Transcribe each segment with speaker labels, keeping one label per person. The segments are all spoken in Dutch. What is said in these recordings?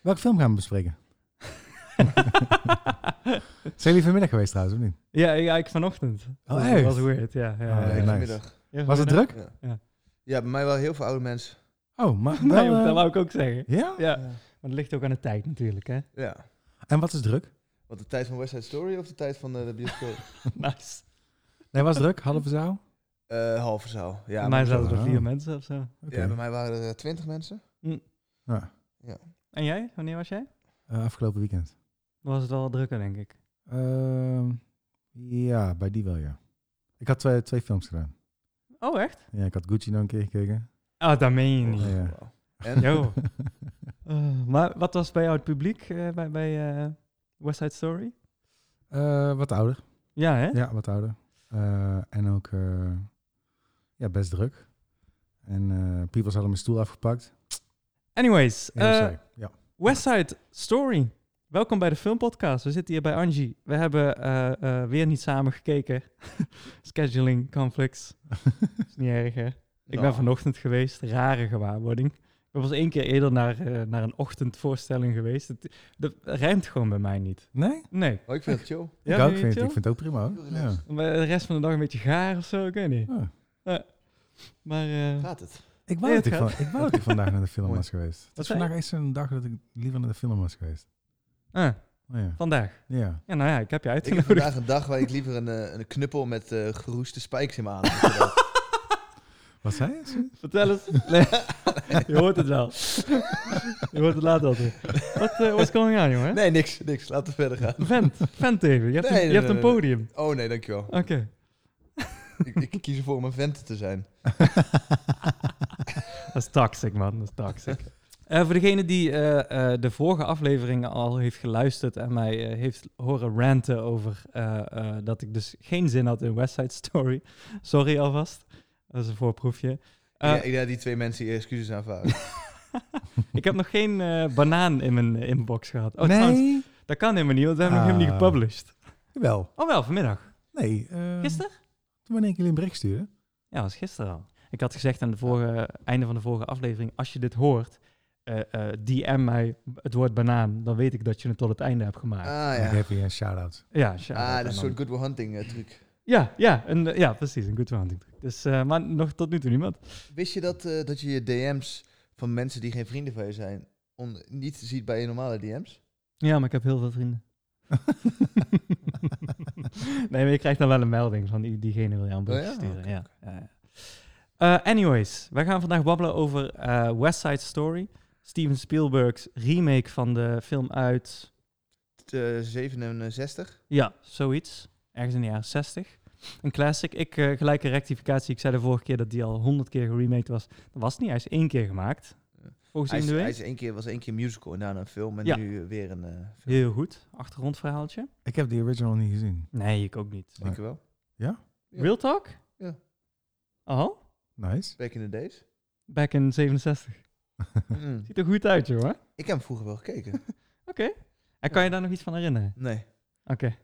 Speaker 1: Welke film gaan we bespreken? Zijn jullie vanmiddag geweest trouwens, of niet?
Speaker 2: Ja, ja, ik vanochtend.
Speaker 1: Oh,
Speaker 2: Dat
Speaker 1: echt?
Speaker 2: was weird, ja. ja,
Speaker 1: Oh,
Speaker 2: ja.
Speaker 1: echt? nice.
Speaker 3: middag.
Speaker 2: Ja,
Speaker 1: Was het
Speaker 2: vanmiddag?
Speaker 1: druk?
Speaker 3: Ja.
Speaker 2: Ja.
Speaker 3: ja, bij mij wel heel veel oude mensen.
Speaker 1: Oh, maar wel,
Speaker 2: Nee, joh,
Speaker 1: eh,
Speaker 2: dat wou ik ook zeggen.
Speaker 1: Ja?
Speaker 2: Ja,
Speaker 3: Ja.
Speaker 2: maar dat ligt ook aan de tijd natuurlijk, hè.
Speaker 3: ja.
Speaker 1: En wat is druk?
Speaker 3: Wat de tijd van West Side Story of de tijd van eh, de bioscoop?
Speaker 2: nice.
Speaker 1: Nee, was druk? Halve zaal?
Speaker 3: Eh, halve zaal. Ja,
Speaker 2: Bij mij
Speaker 3: maar-
Speaker 2: zaten er
Speaker 1: Ah.
Speaker 2: vier mensen of zo.
Speaker 1: Oké.
Speaker 3: ja, bij mij waren er twintig mensen.
Speaker 2: En jij? Wanneer was jij?
Speaker 1: Eh, afgelopen weekend.
Speaker 2: Was het wel drukker, denk ik.
Speaker 1: Ehm, ja, bij die wel, ja. Ik had twee, twee films gedaan.
Speaker 2: Oh, echt?
Speaker 1: Ja, ik had Gucci nog een keer gekeken.
Speaker 2: Ah, dat meen je niet.
Speaker 1: Ja, Oh, ja.
Speaker 3: Oh, Wauw. En?
Speaker 2: Yo. Eh, maar wat was bij jou het publiek eh, bij, bij eh, West Side Story?
Speaker 1: Eh, wat ouder.
Speaker 2: Ja, hè?
Speaker 1: Ja, wat ouder. Eh, en ook eh, ja, best druk. En eh Peoples hadden mijn stoel afgepakt.
Speaker 2: Anyways,
Speaker 1: Heel
Speaker 2: eh,
Speaker 1: saai. ja.
Speaker 2: West Side Story. Welkom bij de filmpodcast. We zitten hier bij Angie. We hebben eh, eh, weer niet samen gekeken. Scheduling conflicts. Is niet erg, hè? Ik ben
Speaker 3: Nou,
Speaker 2: vanochtend geweest. Rare gewaarwording. Ik was één keer eerder naar, eh, naar een ochtendvoorstelling geweest. Het, dat rijmt gewoon bij mij niet.
Speaker 1: Nee?
Speaker 2: Nee.
Speaker 3: Oh, ik vind het chill.
Speaker 2: Ja,
Speaker 1: ik, ook
Speaker 2: vind je
Speaker 1: vind,
Speaker 2: chill?
Speaker 1: ik vind het ook prima. hoor.
Speaker 3: Heel
Speaker 1: Ja.
Speaker 3: relaxed.
Speaker 2: Maar de rest van de dag een beetje gaar of zo, ik weet niet.
Speaker 1: Ah.
Speaker 2: Maar eh,
Speaker 3: Gaat het?
Speaker 1: Ik
Speaker 2: Nee,
Speaker 1: wou, dat
Speaker 2: het
Speaker 1: ik,
Speaker 2: gaat.
Speaker 1: van- ik wou dat ik vandaag naar de film
Speaker 3: Mooi.
Speaker 1: was geweest. Het is
Speaker 2: zei
Speaker 1: vandaag eens een dag dat ik liever naar de film was geweest.
Speaker 2: ah,
Speaker 1: Oh, ja.
Speaker 2: vandaag.
Speaker 1: ja.
Speaker 2: Ja, nou ja, ik heb je
Speaker 3: Ik heb
Speaker 2: uitgenodigd.
Speaker 3: vandaag een dag waar ik liever een, eh, een knuppel met eh, geroeste spikes in mijn aan heb. gedaan.
Speaker 1: Wat zei je?
Speaker 2: Vertel eens. Nee. Je hoort het wel. Je hoort het later altijd. Wat eh, what's going on, jongen?
Speaker 3: Nee, niks, niks. Laten we verder gaan.
Speaker 2: Vent, vent even. Je hebt,
Speaker 3: Nee,
Speaker 2: een, je
Speaker 3: nee,
Speaker 2: hebt een
Speaker 3: nee, nee.
Speaker 2: podium.
Speaker 3: Oh nee, dankjewel.
Speaker 2: Oké.
Speaker 3: Ik, ik kies ervoor om een vent te zijn.
Speaker 2: Dat is toxic, man. Dat is toxic. Eh, voor degene die eh, eh, de vorige afleveringen al heeft geluisterd en mij eh, heeft horen ranten over eh, eh, dat ik dus geen zin had in West Side Story. Sorry alvast. Dat is een voorproefje. Eh,
Speaker 3: ja, ik denk dat die twee mensen hier excuses aanvaarden.
Speaker 2: Ik heb nog geen eh, banaan in mijn inbox gehad. Oh,
Speaker 1: nee.
Speaker 2: trouwens, dat kan helemaal niet, want we hebben nog helemaal niet
Speaker 1: Ah.
Speaker 2: gepublished.
Speaker 1: Wel.
Speaker 2: Oh wel, vanmiddag.
Speaker 1: Nee. eh,
Speaker 2: Gisteren?
Speaker 1: Toen wanneer ik jullie een bericht stuurde.
Speaker 2: Ja, dat was gisteren al. Ik had gezegd aan het vorige, einde van de vorige aflevering, als je dit hoort, eh, eh, DM mij het woord banaan, dan weet ik dat je het tot het einde hebt
Speaker 3: Ah
Speaker 2: gemaakt.
Speaker 1: Ik
Speaker 3: ja.
Speaker 1: heb je een shout-out.
Speaker 2: ja, shout-out
Speaker 3: Ah,
Speaker 2: aan
Speaker 3: dat is een
Speaker 2: Anne.
Speaker 3: soort good will hunting eh, truc.
Speaker 2: ja, ja, een, eh, ja, precies, een good hunting trick. Dus, eh, maar nog tot nu toe niemand.
Speaker 3: Wist je dat, eh, dat je je DM's van mensen die geen vrienden van je zijn on- niet ziet bij je normale DM's?
Speaker 2: Ja, maar ik heb heel veel vrienden. nee, maar je krijgt dan wel een melding van die, diegene wil je aan bericht
Speaker 3: Oh ja?
Speaker 2: sturen.
Speaker 3: Oké,
Speaker 2: ja. ja, ja. Eh, anyways, wij gaan vandaag babbelen over eh, West Side Story. Steven Spielberg's remake van de film uit
Speaker 3: T- eh, 67.
Speaker 2: Ja, zoiets. Ergens in de jaren 60. Een classic. Ik eh gelijke rectificatie. Ik zei de vorige keer dat die al honderd keer geremaked was. Dat was het niet. Hij is één keer gemaakt. Volgens
Speaker 3: Hij, is, hij
Speaker 2: IMDb.
Speaker 3: is één keer, was één keer musical en daarna een film en
Speaker 2: Ja.
Speaker 3: nu eh, weer een eh, film.
Speaker 2: Heel goed. Achtergrondverhaaltje.
Speaker 1: Ik heb die original niet gezien.
Speaker 2: Nee, ik ook niet.
Speaker 3: Denk je wel? Ja.
Speaker 2: Real Talk?
Speaker 3: Ja.
Speaker 2: Oh,
Speaker 1: Nice.
Speaker 3: Back in the days.
Speaker 2: back in 67.
Speaker 3: Mm.
Speaker 2: Ziet er goed uit, joh. Oké.
Speaker 3: Ik heb hem vroeger wel gekeken.
Speaker 2: En kan je daar nog iets van herinneren?
Speaker 3: Nee.
Speaker 2: Oké.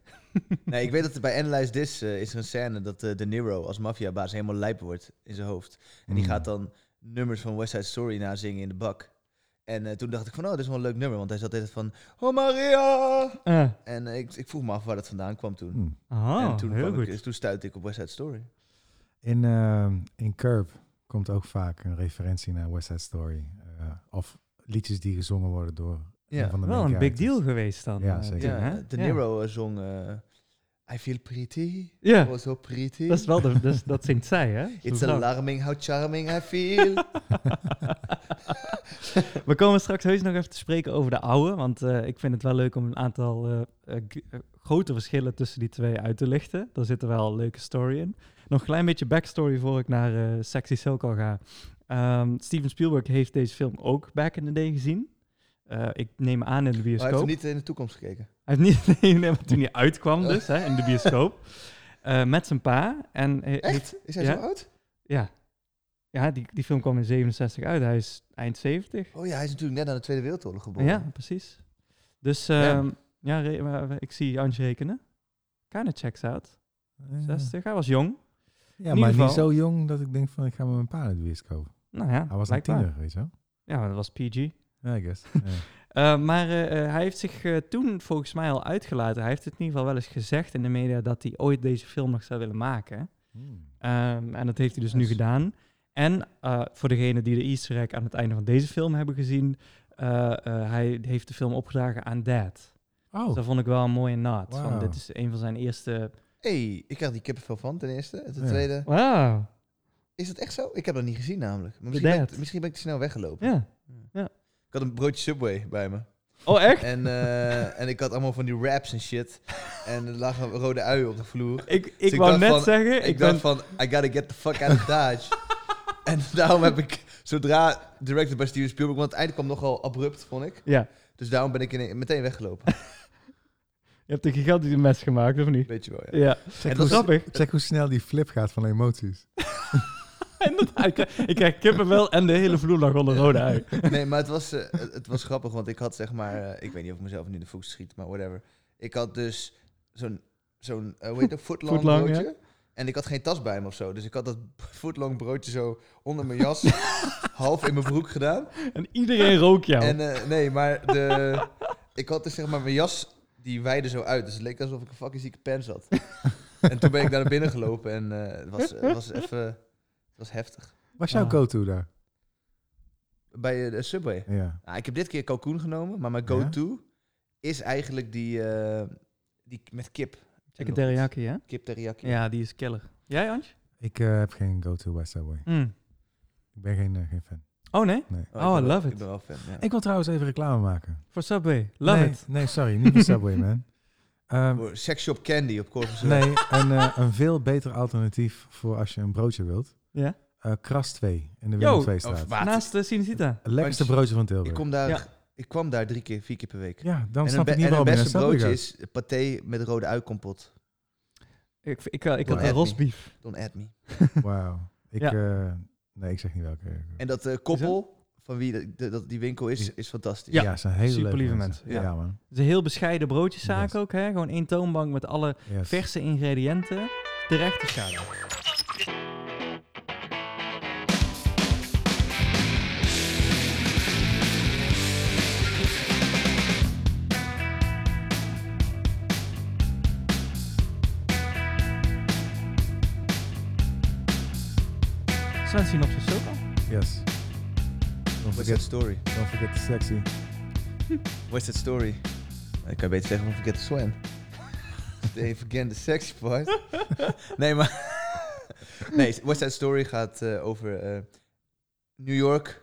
Speaker 3: Nee, ik weet dat er bij Analyze This eh, is er een scène dat eh, De Niro als maffiabaas helemaal lijp wordt in zijn hoofd. En die
Speaker 1: Mm.
Speaker 3: gaat dan nummers van West Side Story nazingen in de bak. En eh, toen dacht ik van, oh, dit is wel een leuk nummer. Want hij zat altijd van, oh Maria!
Speaker 2: Eh,
Speaker 3: En eh, ik, ik vroeg me af waar dat vandaan kwam toen.
Speaker 1: Hmm.
Speaker 2: oh,
Speaker 3: en toen,
Speaker 2: heel
Speaker 3: kwam
Speaker 2: goed.
Speaker 3: ik, dus toen stuitte ik op West Side Story.
Speaker 1: In, ehm, in Curb komt ook vaak een referentie naar West Side Story. eh, of liedjes die gezongen worden door
Speaker 3: Ja,
Speaker 1: een van de
Speaker 2: Wel
Speaker 1: main
Speaker 2: een big deal
Speaker 1: characters.
Speaker 2: geweest dan.
Speaker 1: Ja,
Speaker 2: eh,
Speaker 1: zeker.
Speaker 2: toen,
Speaker 3: Ja,
Speaker 2: hè?
Speaker 3: De
Speaker 2: Ja.
Speaker 3: Niro eh, zong eh, I feel pretty,
Speaker 2: Ja,
Speaker 3: oh so pretty.
Speaker 2: dat is wel de, dus, dat zingt zij, hè?
Speaker 3: It's
Speaker 2: Zo'n vrouw.
Speaker 3: alarming how charming I feel.
Speaker 2: We komen straks heus nog even te spreken over de oude, want eh, ik vind het wel leuk om een aantal eh, eh, g- eh, grote verschillen tussen die twee uit te lichten. Daar zit er wel een leuke story in. Nog een klein beetje backstory voor ik naar eh, Sexy Silk al ga. Ehm, Steven Spielberg heeft deze film ook back in the day gezien. Eh, ik neem aan in de
Speaker 3: Maar hij heeft
Speaker 2: bioscoop.
Speaker 3: er niet in de toekomst gekeken.
Speaker 2: Hij heeft niet, nee, nee, maar toen hij uitkwam dus, hè, in de bioscoop. Eh, met zijn pa. En he- heeft-
Speaker 3: Echt? Is hij
Speaker 2: Ja.
Speaker 3: zo oud?
Speaker 2: ja, ja die, die film kwam in 67 uit. Hij is eind 70.
Speaker 3: Oh ja, hij is natuurlijk net aan de Tweede Wereldoorlog geboren.
Speaker 2: Ja, precies. Dus
Speaker 3: Ja.
Speaker 2: ehm, ja, re- maar ik zie Anje rekenen. Kind checks out.
Speaker 1: Ja.
Speaker 2: 60, hij was jong.
Speaker 1: eh, Ja,
Speaker 2: In
Speaker 1: maar
Speaker 2: ieder
Speaker 1: niet
Speaker 2: geval-
Speaker 1: zo jong dat ik denk van ik ga met mijn pa naar de bioscoop.
Speaker 2: Nou ja,
Speaker 1: Hij was een
Speaker 2: blijkbaar.
Speaker 1: tiener, weet je wel.
Speaker 2: Ja, maar dat was PG.
Speaker 1: Ja, I guess. Ja.
Speaker 2: Eh, maar eh, eh, hij heeft zich eh, toen volgens mij al uitgelaten. Hij heeft het in ieder geval wel eens gezegd in de media dat hij ooit deze film nog zou willen maken.
Speaker 1: Hmm.
Speaker 2: Ehm, en dat heeft hij dus nu
Speaker 1: Nice.
Speaker 2: gedaan. En eh, voor degenen die de Easter egg aan het einde van deze film hebben gezien, eh, eh, hij heeft de film opgedragen aan Dad. Dus
Speaker 1: Oh,
Speaker 2: dat vond ik wel een mooie naad. Van,
Speaker 1: Wauw.
Speaker 2: dit is een van zijn eerste.
Speaker 3: hey, ik krijg die kippenvel van ten eerste. En ten
Speaker 1: Ja.
Speaker 3: tweede,
Speaker 2: Wow.
Speaker 3: is dat echt zo? Ik heb dat niet gezien namelijk. Maar
Speaker 2: The
Speaker 3: misschien, ben ik,
Speaker 2: Dad.
Speaker 3: misschien ben ik te snel weggelopen.
Speaker 2: Ja.
Speaker 3: Ik had een broodje Subway bij me.
Speaker 2: Oh, echt?
Speaker 3: En, eh, en ik had allemaal van die wraps en shit. En er lagen rode uien op de vloer.
Speaker 2: Ik, ik
Speaker 3: Dus ik
Speaker 2: wou
Speaker 3: dacht
Speaker 2: net
Speaker 3: van-
Speaker 2: zeggen,
Speaker 3: Ik,
Speaker 2: ik, ben,
Speaker 3: dacht van, I gotta get the fuck out of Dodge. en daarom heb ik, zodra directed by Steven Spielberg, want het einde kwam nogal abrupt, vond ik.
Speaker 2: Ja,
Speaker 3: Dus daarom ben ik in- meteen weggelopen.
Speaker 2: je hebt een gigantische mes gemaakt, of niet?
Speaker 3: Weet je wel, ja.
Speaker 2: Ja,
Speaker 1: check hoe,
Speaker 3: en dat is-
Speaker 2: grappig.
Speaker 1: check hoe snel die flip gaat van emoties.
Speaker 2: Inderdaad, ik krijg- ik krijg kippenvel en de hele vloer lag onder rode ui.
Speaker 3: Nee, maar het was, eh, het, het was grappig, want ik had zeg maar... eh, ik weet niet of ik mezelf nu in de voet schiet, maar whatever. Ik had dus zo'n, zo'n eh, hoe heet dat, footlong,
Speaker 2: Footlong,
Speaker 3: broodje. En ik had geen tas bij me of zo. Dus ik had dat footlong broodje zo onder mijn jas, half in mijn broek gedaan.
Speaker 2: En iedereen rook jou.
Speaker 3: En eh, nee, maar de, ik had dus zeg maar mijn jas, die weide zo uit. Dus het leek alsof ik een fucking zieke pens had. en toen ben ik daar naar binnen gelopen en eh, het was, het was even, het was heftig.
Speaker 1: Was jouw
Speaker 2: Ah.
Speaker 1: go-to daar?
Speaker 3: Bij eh, de Subway.
Speaker 1: Ja.
Speaker 3: Nou, ik heb dit keer kalkoen genomen, maar mijn go-to is eigenlijk die, eh, die k- met kip.
Speaker 2: Check het teriyaki, hè?
Speaker 3: Kip teriyaki.
Speaker 2: Ja, die is killer. Jij, Antje?
Speaker 1: Ik eh, heb geen go-to bij Subway.
Speaker 2: Mm.
Speaker 1: Ik ben geen, eh, geen fan.
Speaker 2: Oh, nee?
Speaker 1: Nee.
Speaker 3: ik
Speaker 2: Oh,
Speaker 3: ben wel-
Speaker 2: love it.
Speaker 3: Ik ben wel fan, ja.
Speaker 1: Ik wil trouwens even reclame maken.
Speaker 2: Voor Subway. Love
Speaker 1: nee,
Speaker 2: it.
Speaker 1: Nee, sorry. Niet voor Subway, man. Ehm,
Speaker 3: Voor Sex Shop Candy op Corpus Hill.
Speaker 1: nee, een, eh, een veel beter alternatief voor als je een broodje wilt.
Speaker 2: Ja.
Speaker 1: Eh, Kras 2 in de
Speaker 2: Yo, oh,
Speaker 1: Willem 2
Speaker 3: Of
Speaker 1: staat.
Speaker 3: water.
Speaker 2: Naast eh, de Sinusita.
Speaker 1: Het lekkerste broodje van
Speaker 3: Oh, Ik,
Speaker 1: Tilburg.
Speaker 3: kom daar,
Speaker 2: Ja.
Speaker 3: ik kwam daar drie keer, vier keer per week.
Speaker 1: Ja, dan
Speaker 3: en een
Speaker 1: snap
Speaker 3: be-
Speaker 1: ik niet
Speaker 3: en het
Speaker 1: waarom je naar
Speaker 3: beste
Speaker 1: Subway
Speaker 3: broodje
Speaker 1: gaat.
Speaker 3: is paté met rode uikompot.
Speaker 2: Ik, ik, ik had
Speaker 3: Don't add
Speaker 2: rosbief.
Speaker 3: Don't add me.
Speaker 1: Wauw. Ik,
Speaker 2: Ja.
Speaker 1: eh, nee, ik zeg niet welke.
Speaker 3: En dat eh, koppel van wie de- de- dat die winkel is, is fantastisch.
Speaker 1: Ja, ze zijn hele
Speaker 2: super
Speaker 1: leuke
Speaker 2: lieve
Speaker 1: Ja,
Speaker 2: mensen, ja.
Speaker 1: man.
Speaker 2: Het is een heel bescheiden broodjeszaak
Speaker 1: Yes.
Speaker 2: ook, hè? Gewoon één toonbank met alle
Speaker 1: Yes.
Speaker 2: verse ingrediënten. Terecht te staan. Sven Synopsis ook al.
Speaker 1: Yes. Don't
Speaker 3: What's that
Speaker 1: forget,
Speaker 3: story?
Speaker 1: don't forget the sexy.
Speaker 3: What's that story? Nou, Ik kan beter zeggen van Forget the Swim. Even again the sexy part. nee, maar... nee, What's that story gaat eh, over eh, New York,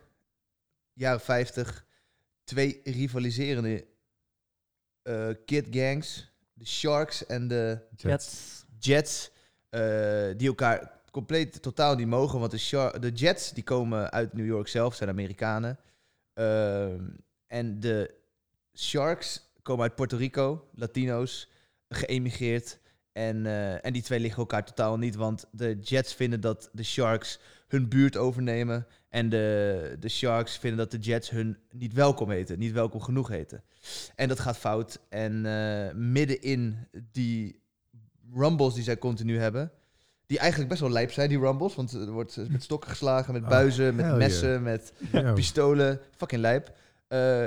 Speaker 3: jaren 50. Twee rivaliserende eh, kid gangs. De Sharks en de...
Speaker 1: Jets.
Speaker 3: Jets, eh, die elkaar compleet totaal niet mogen. Want de, Shar- de Jets die komen uit New York zelf, zijn Amerikanen. Ehm, en de Sharks komen uit Puerto Rico, Latino's, geëmigreerd. En, eh, en die twee liggen elkaar totaal niet, want de Jets vinden dat de Sharks hun buurt overnemen. En de, de Sharks vinden dat de Jets hun niet welkom heten, niet welkom genoeg heten. En dat gaat fout. En eh midden in die rumbles die zij continu hebben. Die eigenlijk best wel lijp zijn, die rumbles. Want er wordt eh, met stokken geslagen, met
Speaker 1: Oh,
Speaker 3: buizen, met
Speaker 1: hell
Speaker 3: messen, met
Speaker 1: Yo.
Speaker 3: pistolen, fucking lijp. Eh,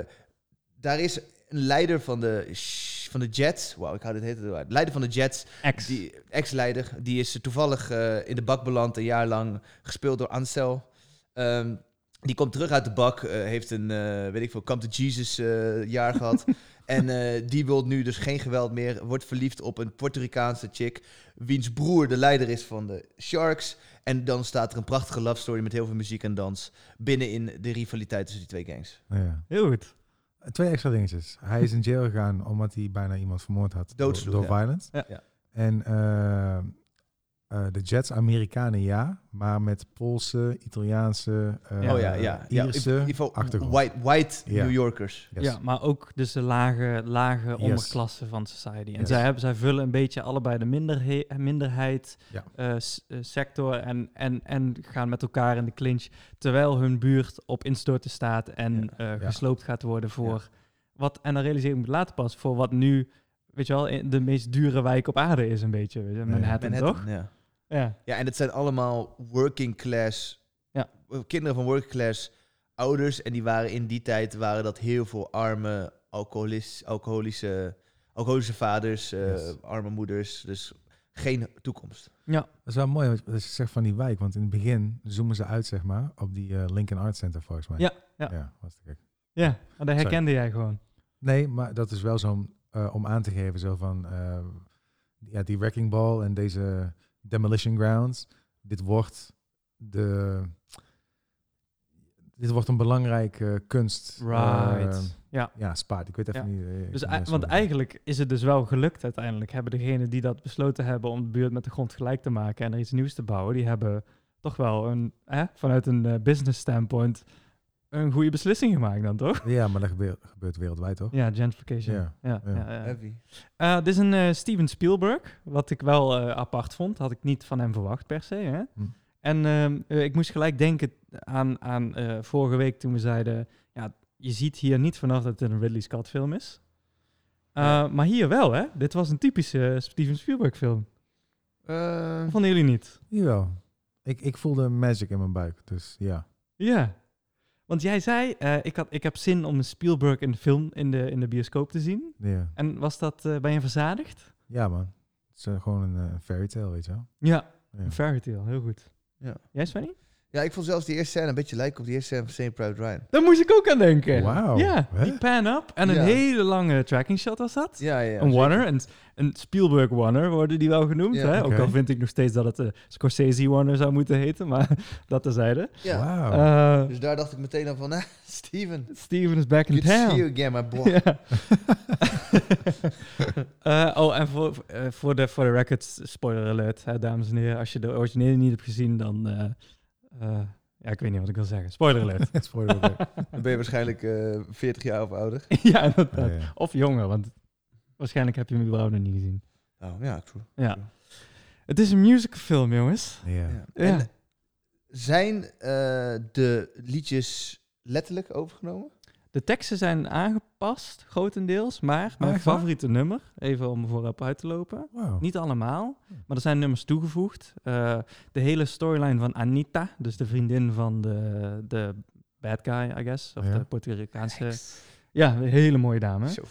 Speaker 3: daar is een leider van de, sh- van de Jets. Wauw, ik hou dit hele tijd uit. Leider van de Jets,
Speaker 2: Ex.
Speaker 3: die ex-leider, die is toevallig eh, in de bak beland een jaar lang, gespeeld door Ansel. Ehm, die komt terug uit de bak, eh, heeft een, eh, weet ik veel, Come to Jesus eh, jaar gehad. En eh, die wil nu dus geen geweld meer, wordt verliefd op een Puerto Ricaanse chick, wiens broer de leider is van de Sharks. En dan staat er een prachtige love story met heel veel muziek en dans binnenin de rivaliteit tussen die twee gangs.
Speaker 1: Ja.
Speaker 2: Heel goed.
Speaker 1: Twee extra dingetjes. Hij is in jail gegaan omdat hij bijna iemand vermoord had. door-
Speaker 3: Doodsloeg,
Speaker 1: Door
Speaker 3: ja.
Speaker 1: violence.
Speaker 2: Ja.
Speaker 3: Ja.
Speaker 1: En eh, eh, de Jets, Amerikanen ja, maar met Poolse, Italiaanse, eh,
Speaker 3: oh ja, ja. ja.
Speaker 1: Ierse
Speaker 3: In- in ieder geval
Speaker 1: achtergrond.
Speaker 3: White, white
Speaker 1: Ja.
Speaker 3: New Yorkers.
Speaker 1: Yes.
Speaker 2: Ja, maar ook dus de lage, lage onderklasse van society. En
Speaker 1: Yes.
Speaker 2: zij, hebben, zij vullen een beetje allebei de minderhe- minderheid
Speaker 1: Ja.
Speaker 2: eh, s- eh, sector en, en, en gaan met elkaar in de clinch. Terwijl hun buurt op instorten staat en
Speaker 3: Ja.
Speaker 2: eh,
Speaker 1: Ja.
Speaker 2: gesloopt gaat worden voor wat, en dan realiseer ik me later pas, voor wat nu, weet je wel, in- de meest dure wijk op aarde is een beetje. Weet je, Manhattan,
Speaker 3: Manhattan,
Speaker 2: toch?
Speaker 3: Ja.
Speaker 2: Ja.
Speaker 3: Ja, en het zijn allemaal working class.
Speaker 2: Ja.
Speaker 3: Kinderen van working class ouders. En die waren in die tijd waren dat heel veel arme alcoholis, alcoholische, alcoholische vaders, eh,
Speaker 1: Yes.
Speaker 3: arme moeders. Dus geen toekomst.
Speaker 1: Dat is wel mooi wat wat je zegt van die wijk. Want in het begin zoomen ze uit, zeg maar, op die eh, Lincoln Art Center volgens mij.
Speaker 2: Ja, ja.
Speaker 1: ja was te gek.
Speaker 2: Ja, maar dat
Speaker 1: Sorry.
Speaker 2: herkende jij gewoon.
Speaker 1: Nee, maar dat is wel zo'n eh, om aan te geven, zo van eh, ja, die wrecking ball en deze demolition grounds. Dit wordt de dit wordt een belangrijke kunst.
Speaker 2: Right.
Speaker 1: eh,
Speaker 2: Ehm, ja.
Speaker 1: ja, spaat. Ik weet even
Speaker 2: Ja.
Speaker 1: niet. eh, ik
Speaker 2: Dus,
Speaker 1: ben
Speaker 2: ei-
Speaker 1: best
Speaker 2: want
Speaker 1: wel-
Speaker 2: eigenlijk is het dus wel gelukt uiteindelijk. Hebben degenen die dat besloten hebben om de buurt met de grond gelijk te maken en er iets nieuws te bouwen, die hebben toch wel een, hè, vanuit een eh, business standpoint een goede beslissing gemaakt dan toch?
Speaker 1: Ja, maar dat gebeurt, gebeurt wereldwijd, toch?
Speaker 2: Ja, gentrification.
Speaker 1: Ja,
Speaker 2: ja,
Speaker 1: ja.
Speaker 2: ja, ja.
Speaker 3: Heavy.
Speaker 2: Eh, dit is een eh, Steven Spielberg, wat ik wel eh, apart vond. Had ik niet van hem verwacht per se. Hè?
Speaker 1: Hm.
Speaker 2: En ehm, eh, ik moest gelijk denken aan, aan eh, vorige week toen we zeiden... Ja, je ziet hier niet vanaf dat het een Ridley Scott film is. Eh, Maar hier wel, hè? Dit was een typische eh, Steven Spielberg film.
Speaker 3: Eh,
Speaker 2: Vonden jullie niet?
Speaker 1: Jawel. Ik, ik voelde magic in mijn buik, dus ja.
Speaker 2: Ja. Want jij zei, eh, ik, had, ik heb zin om een Spielberg in de film in de, in de bioscoop te zien.
Speaker 1: Ja,
Speaker 2: En was dat, eh, ben je verzadigd?
Speaker 1: ja man. Het is eh, gewoon een eh, fairy tale, weet je wel.
Speaker 2: Ja.
Speaker 1: Ja.
Speaker 2: Een fairy tale, heel goed.
Speaker 3: Ja.
Speaker 2: Jij, Svenny?
Speaker 3: ja, ik vond zelfs die eerste scène een beetje lijken op die eerste scène van St. Private Ryan.
Speaker 2: Daar moest ik ook aan denken.
Speaker 1: Wauw.
Speaker 2: Ja,
Speaker 1: Hè?
Speaker 2: die pan-up en een
Speaker 3: Ja.
Speaker 2: hele lange tracking shot was dat.
Speaker 3: Ja, ja.
Speaker 2: een
Speaker 3: zeker.
Speaker 2: oneer, een, een Spielberg oneer worden die wel genoemd.
Speaker 3: Ja.
Speaker 2: Hè? Ook
Speaker 1: Oké.
Speaker 2: al vind ik nog steeds dat het de Scorsese oneer zou moeten heten, maar dat terzijde.
Speaker 3: Ja.
Speaker 1: Wauw.
Speaker 2: Eh,
Speaker 3: Dus daar dacht ik meteen aan van, ah, Steven,
Speaker 2: Steven is back in
Speaker 3: good to see
Speaker 2: town.
Speaker 3: you again, my boy.
Speaker 2: Ja. Eh, oh, en voor, eh, voor, de, voor de records, spoiler alert, hè, dames en heren. Als je de originele niet hebt gezien, dan... eh, eh, ja, ik weet niet wat ik wil zeggen. Spoiler alert.
Speaker 1: Het is voor de-
Speaker 3: Dan ben je waarschijnlijk eh 40 jaar of ouder.
Speaker 2: ja, inderdaad.
Speaker 1: Ja, ja.
Speaker 2: Of jonger, want waarschijnlijk heb je hem überhaupt nog niet gezien.
Speaker 3: Oh, ja, true.
Speaker 2: Ja. Het is een musicalfilm, jongens.
Speaker 1: Ja.
Speaker 3: Ja.
Speaker 2: Ja.
Speaker 3: En zijn eh, de liedjes letterlijk overgenomen?
Speaker 2: De teksten zijn aangepast, grotendeels. Maar mijn
Speaker 1: echt waar?
Speaker 2: favoriete nummer, even om voorop uit te lopen.
Speaker 1: Wauw.
Speaker 2: Niet allemaal,
Speaker 1: Hm.
Speaker 2: maar er zijn nummers toegevoegd. Eh, de hele storyline van Anita, dus de vriendin van de, de bad guy, I guess. Of
Speaker 1: Ja.
Speaker 2: de Puerto-Ricaanse... Ja, een hele mooie dame.
Speaker 3: Zo.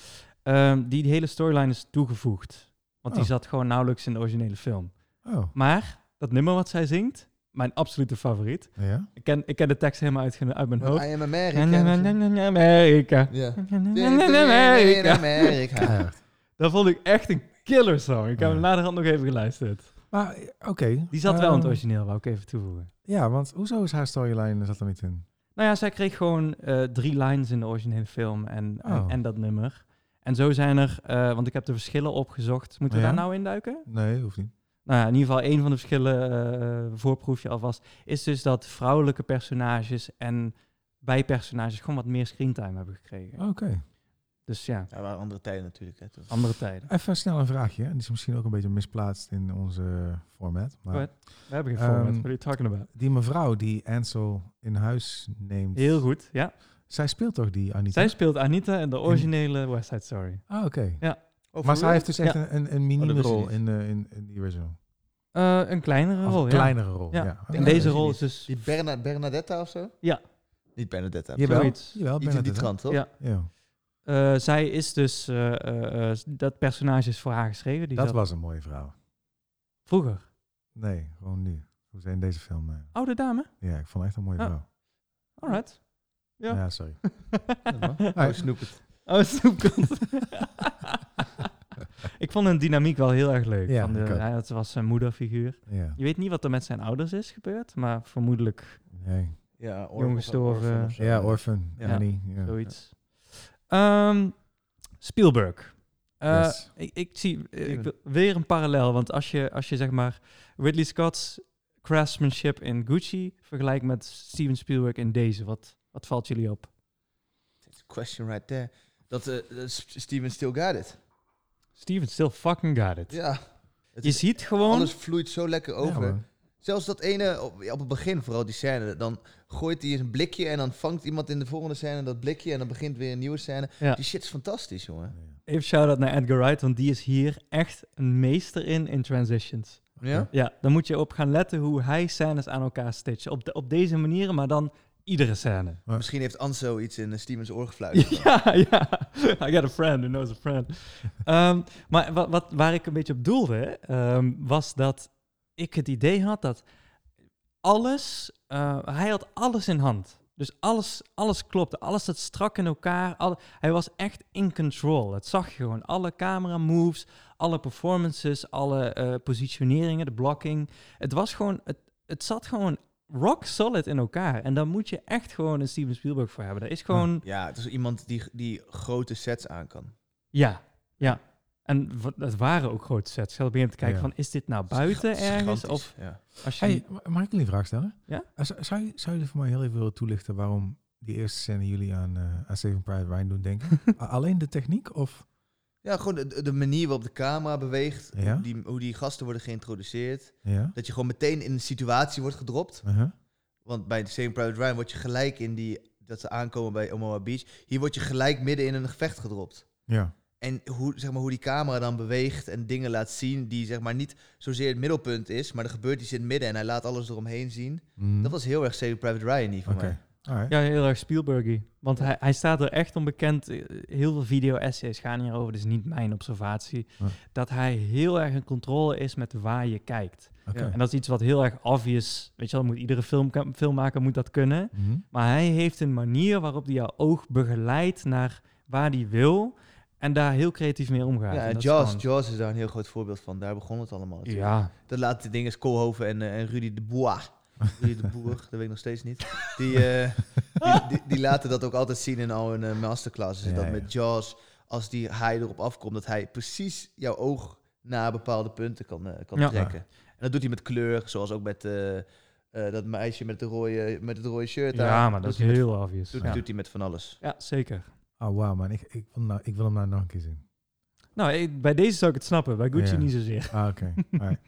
Speaker 2: Ehm, die, die hele storyline is toegevoegd. Want die
Speaker 1: Oh.
Speaker 2: zat gewoon nauwelijks in de originele film.
Speaker 1: Oh,
Speaker 2: Maar dat nummer wat zij zingt, mijn absolute favoriet.
Speaker 1: ja.
Speaker 2: Ik ken, ik ken de tekst helemaal uit, uit mijn hoofd.
Speaker 3: I am American.
Speaker 2: Amerika.
Speaker 3: Ja. In
Speaker 2: Amerika.
Speaker 3: Amerika.
Speaker 1: Ja, echt.
Speaker 2: Dat vond ik echt een killer song. Ik heb hem
Speaker 1: Ja.
Speaker 2: naderhand nog even geluisterd.
Speaker 1: Maar, eh, oké.
Speaker 2: Die zat wel in het
Speaker 1: ehm,
Speaker 2: origineel, wou ik even toevoegen.
Speaker 1: Ja, want hoezo is haar storyline zat er niet in?
Speaker 2: Nou ja, zij kreeg gewoon eh, drie lines in de originele film en, en-
Speaker 1: Oh.
Speaker 2: en dat nummer. En zo zijn er, eh, want ik heb de verschillen opgezocht. Moeten we
Speaker 1: Ja?
Speaker 2: daar nou induiken?
Speaker 1: Nee, hoeft niet.
Speaker 2: Nou ja, in ieder geval een van de verschillen, eh, voorproefje alvast, is dus dat vrouwelijke personages en bijpersonages gewoon wat meer screentime hebben gekregen.
Speaker 1: Oké.
Speaker 2: Dus ja,
Speaker 3: Ja, waren andere tijden natuurlijk. Hè, toen.
Speaker 2: andere tijden.
Speaker 1: Even snel een vraagje. hè. Die is misschien ook een beetje misplaatst in onze format. Maar
Speaker 2: Goed. We hebben geen
Speaker 1: geen format.
Speaker 2: format. What
Speaker 1: What
Speaker 2: are
Speaker 1: are
Speaker 2: you talking about?
Speaker 1: die mevrouw die Ansel in huis neemt.
Speaker 2: Heel goed, ja.
Speaker 1: Zij speelt toch die Anita?
Speaker 2: Zij speelt Anita
Speaker 1: Mm.
Speaker 2: in de originele West Side Story.
Speaker 1: Ah, oké.
Speaker 3: Oh,
Speaker 1: Maar
Speaker 3: voor
Speaker 1: zij heeft dus echt
Speaker 2: Ja.
Speaker 1: een, een, een
Speaker 3: Oh, dat wist ik
Speaker 1: mini-rol
Speaker 3: niet.
Speaker 1: in, de in, in die original.
Speaker 2: Eh, een kleinere
Speaker 1: Of
Speaker 2: rol,
Speaker 1: een
Speaker 2: ja.
Speaker 1: kleinere rol.
Speaker 2: Ja.
Speaker 1: Ja.
Speaker 2: En
Speaker 3: Ja,
Speaker 2: deze
Speaker 3: dat
Speaker 2: rol is
Speaker 3: weet
Speaker 2: dus...
Speaker 3: Die Berna Bernadetta of zo?
Speaker 2: Ja.
Speaker 3: Niet Bernadetta.
Speaker 1: Jawel.
Speaker 2: zoiets.
Speaker 1: Jawel,
Speaker 3: Iets in die
Speaker 1: Bernadette.
Speaker 3: trant, toch?
Speaker 2: Ja.
Speaker 1: Ja,
Speaker 2: Eh, zij is dus... eh, eh, eh, dat personage is voor haar geschreven. Die
Speaker 1: dat
Speaker 2: zat
Speaker 1: was een mooie vrouw.
Speaker 2: Vroeger.
Speaker 1: Nee, gewoon nu. Hoe zijn deze film? eh,
Speaker 2: Oude dame.
Speaker 1: Ja, ik vond haar echt een mooie
Speaker 2: Ah.
Speaker 1: vrouw.
Speaker 2: Alright. Ja.
Speaker 1: Ja, sorry.
Speaker 3: Oh, snoep het.
Speaker 2: oh, snoepkont. ik vond hun dynamiek wel heel erg leuk.
Speaker 1: Ja,
Speaker 2: van de,
Speaker 1: ik ook.
Speaker 2: hij- het was zijn moederfiguur.
Speaker 1: Ja.
Speaker 2: Je weet niet wat er met zijn ouders is gebeurd, maar vermoedelijk
Speaker 1: Nee.
Speaker 3: Ja,
Speaker 2: Jong gestorven.
Speaker 1: eh, Ja, Orphan,
Speaker 3: Ja.
Speaker 1: Annie. Ja.
Speaker 2: zoiets. Ehm, Spielberg. Eh,
Speaker 1: Yes.
Speaker 2: Ik, ik zie eh, ik
Speaker 3: Steven.
Speaker 2: wil- weer een parallel, want als je, als je zeg maar Ridley Scott's craftsmanship in Gucci vergelijkt met Steven Spielberg in deze, wat, wat valt jullie op?
Speaker 3: Question right there. Dat eh, eh, S- Steven still got it.
Speaker 2: Steven still fucking got it.
Speaker 3: Ja. Het
Speaker 2: je
Speaker 3: is-
Speaker 2: ziet gewoon,
Speaker 3: Alles vloeit zo lekker over.
Speaker 1: Ja, man.
Speaker 3: Zelfs dat ene, op, op het begin vooral die scène, dan gooit hij een blikje en dan vangt iemand in de volgende scène dat blikje en dan begint weer een nieuwe scène.
Speaker 2: Ja.
Speaker 3: Die shit is fantastisch, jongen.
Speaker 2: even shout-out naar Edgar Wright, want die is hier echt een meester in, in transitions.
Speaker 3: Ja?
Speaker 2: Ja, dan moet je op gaan letten hoe hij scènes aan elkaar stitchen. Op, de, op deze manier, maar dan iedere scène.
Speaker 3: Misschien heeft Anso iets in eh, Stevens oor gefluisterd.
Speaker 2: Ja, ja. I got a friend who knows a friend. Ehm, maar wat, wat, waar ik een beetje op doelde, hè, ehm, was dat ik het idee had dat alles, eh, hij had alles in hand. Dus alles, alles klopte, alles zat strak in elkaar. alle- hij was echt in control. Dat zag je gewoon. Alle camera moves, alle performances, alle eh, positioneringen, de blocking. Het was gewoon, het, het zat gewoon rock solid in elkaar. En daar moet je echt gewoon een Steven Spielberg voor hebben. Dat is gewoon...
Speaker 3: Ja, het is iemand die, die grote sets aan kan.
Speaker 2: Ja, ja. En wa- het waren ook grote sets. Ik zat op een gegeven moment te kijken
Speaker 1: Ja.
Speaker 2: van, is dit nou buiten
Speaker 3: Scha-
Speaker 2: ergens?
Speaker 3: gigantisch,
Speaker 2: Of
Speaker 3: ja.
Speaker 2: als je...
Speaker 1: Hey, ma- mag ik jullie een vraag stellen?
Speaker 2: Ja?
Speaker 1: Eh, Zou, zou, je- zou je voor mij heel even willen toelichten waarom die eerste scène jullie aan, eh aan Saving Private Ryan doen denken? A- Alleen de techniek of...
Speaker 3: ja, gewoon de, de manier waarop de camera beweegt,
Speaker 1: Ja?
Speaker 3: hoe die, hoe die gasten worden geïntroduceerd.
Speaker 1: Ja?
Speaker 3: Dat je gewoon meteen in een situatie wordt gedropt.
Speaker 1: Uh-huh.
Speaker 3: Want bij The Same Private Ryan word je gelijk in die... dat ze aankomen bij Omaha Beach. Hier word je gelijk midden in een gevecht gedropt.
Speaker 1: Ja.
Speaker 3: En hoe, zeg maar, hoe die camera dan beweegt en dingen laat zien... die zeg maar, niet zozeer het middelpunt is... maar er gebeurt iets in het midden en hij laat alles eromheen zien.
Speaker 2: Mhm.
Speaker 1: Mm.
Speaker 3: Dat was heel erg Saving Private Ryan hier voor
Speaker 1: Oké.
Speaker 3: mij.
Speaker 1: Alright.
Speaker 2: Ja, heel erg Spielbergy. Want hij, hij staat er echt onbekend. Eh, Heel veel video-essays gaan hierover, dus niet mijn observatie.
Speaker 1: Ja.
Speaker 2: Dat hij heel erg in controle is met waar je kijkt.
Speaker 1: Oké.
Speaker 3: Ja.
Speaker 2: En dat is iets wat heel erg obvious... Weet je wel, moet iedere film, filmmaker moet dat kunnen.
Speaker 1: Mhm.
Speaker 2: Maar hij heeft een manier waarop hij jouw oog begeleidt naar waar hij wil... en daar heel creatief mee omgaat.
Speaker 3: Ja,
Speaker 2: En
Speaker 3: en
Speaker 2: dat is
Speaker 3: Jaws,
Speaker 2: gewoon-
Speaker 3: Jaws is daar een heel groot voorbeeld van. Daar begon het allemaal natuurlijk.
Speaker 2: Ja,
Speaker 3: Dat laatste ding is Koolhoven en, eh, en Rudy de Bois.
Speaker 1: Ah.
Speaker 3: Rudy de Boer, dat weet ik nog steeds niet. Die, eh, die, die, die laten dat ook altijd zien in al hun eh, masterclasses.
Speaker 1: Ja,
Speaker 3: dat
Speaker 1: ja.
Speaker 3: met Jaws, als die haai erop afkomt, dat hij precies jouw oog naar bepaalde punten kan, eh, kan
Speaker 2: Ja.
Speaker 3: trekken. En dat doet hij met kleur, zoals ook met eh, eh, dat meisje met, de rode, met het rode shirt. daar.
Speaker 2: Ja, maar dat is
Speaker 3: doet hij
Speaker 2: heel obvious.
Speaker 3: Met, doet,
Speaker 2: ja.
Speaker 3: doet hij met van alles.
Speaker 2: Ja, zeker.
Speaker 1: Oh, wauw man. Ik, ik, wil nou, ik wil hem nou nog een keer zien.
Speaker 2: Nou, ik- bij deze zou ik het snappen. Bij Gucci
Speaker 1: Ja.
Speaker 2: niet zozeer.
Speaker 1: Ah, oké. Alright.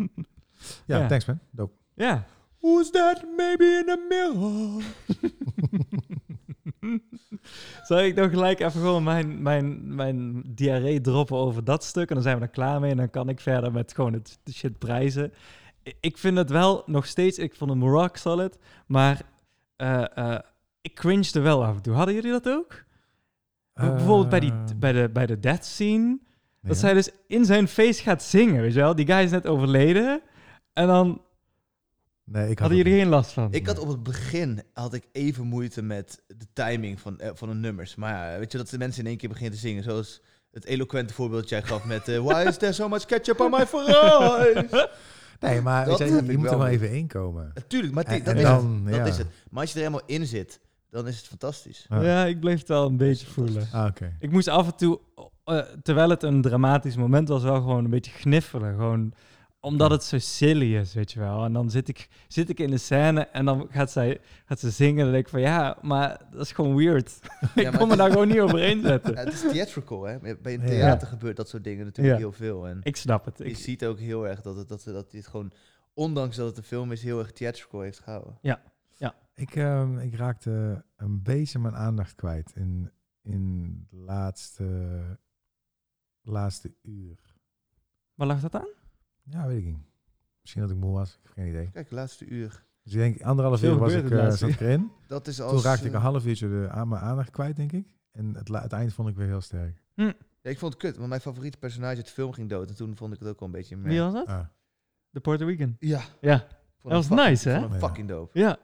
Speaker 1: ja,
Speaker 2: Ja.
Speaker 1: thanks man. Dope.
Speaker 2: Ja.
Speaker 3: Who's that maybe in the mirror?
Speaker 2: Zal ik dan gelijk even gewoon mijn, mijn, mijn diarree droppen over dat stuk? En dan zijn we er klaar mee. En dan kan ik verder met gewoon het de shit prijzen. I- Ik vind het wel nog steeds... Ik vond hem rock solid. Maar eh, eh, ik cringe er wel af en toe. Hadden jullie dat ook? Bijvoorbeeld bij, die,
Speaker 1: Eh,
Speaker 2: bij, de, bij de death scene.
Speaker 1: ja.
Speaker 2: Dat zij dus in zijn face gaat zingen, weet je wel? Die guy is net overleden. En dan
Speaker 1: Nee, ik had
Speaker 2: hadden
Speaker 1: het
Speaker 2: jullie
Speaker 1: niet.
Speaker 2: geen last van.
Speaker 3: Ik had op het begin had ik even moeite met de timing van, eh, van de nummers. Maar ja, weet je, dat de mensen in één keer beginnen te zingen. Zoals het eloquente voorbeeld dat jij gaf met... eh, Why is there so much ketchup on my fries?
Speaker 1: Nee, maar
Speaker 3: Dat
Speaker 1: weet je,
Speaker 3: heb
Speaker 1: je
Speaker 3: ik
Speaker 1: moet er
Speaker 3: wel.
Speaker 1: wel even inkomen.
Speaker 3: Natuurlijk, maar die-
Speaker 1: En-
Speaker 3: dat,
Speaker 1: en
Speaker 3: is,
Speaker 1: dan,
Speaker 3: het, dat
Speaker 1: ja.
Speaker 3: is het. Maar als je er helemaal in zit, dan is het fantastisch.
Speaker 1: Ah.
Speaker 2: Ja, ik bleef het wel een beetje voelen.
Speaker 1: Ah, oké.
Speaker 2: Ik moest af en toe, eh, terwijl het een dramatisch moment was, wel gewoon een beetje gniffelen. Gewoon omdat het zo silly is, weet je wel. En dan zit ik, zit ik in de scène en dan gaat, zij, gaat ze zingen. En dan denk ik van ja, maar dat is gewoon weird.
Speaker 3: Ja,
Speaker 2: ik kon
Speaker 3: maar
Speaker 2: me
Speaker 3: het,
Speaker 2: daar gewoon niet overheen zetten.
Speaker 3: ja, het is theatrical, hè. Bij een
Speaker 1: Ja.
Speaker 3: theater gebeurt dat soort dingen natuurlijk
Speaker 2: Ja.
Speaker 3: heel veel. En
Speaker 2: Ik snap het.
Speaker 3: je
Speaker 2: Ik,
Speaker 3: ziet ook heel erg dat, het, dat, ze- dat dit gewoon... Ondanks dat het een film is, heel erg theatrical heeft gehouden.
Speaker 1: Ik, ehm, ik raakte een beetje mijn aandacht kwijt in, in de laatste, laatste uur.
Speaker 2: waar lag dat aan?
Speaker 1: Ja, weet ik niet. Misschien dat ik moe was, ik heb geen idee.
Speaker 3: Kijk, laatste uur.
Speaker 1: Dus ik denk anderhalf
Speaker 2: Veel
Speaker 1: uur was ik,
Speaker 2: gebeurt het
Speaker 1: eh
Speaker 2: laatste
Speaker 1: zat ik erin.
Speaker 3: Dat is als...
Speaker 1: Toen raakte ik
Speaker 3: eh,
Speaker 1: een half uurtje de, aan mijn aandacht kwijt, denk ik. En het, la- het eind vond ik weer heel sterk.
Speaker 3: Ja, ik vond het kut, want mijn favoriete personage uit de film ging dood. En toen vond ik het ook al een beetje... meh.
Speaker 2: Wie was dat?
Speaker 1: Ah,
Speaker 2: De Puerto Rican.
Speaker 3: Ja.
Speaker 2: Ja,
Speaker 3: Vond
Speaker 2: Dat
Speaker 3: hem
Speaker 2: was
Speaker 3: fucking-
Speaker 2: nice, hè?
Speaker 3: vond hem
Speaker 1: Ja.
Speaker 3: fucking dope.
Speaker 2: Ja,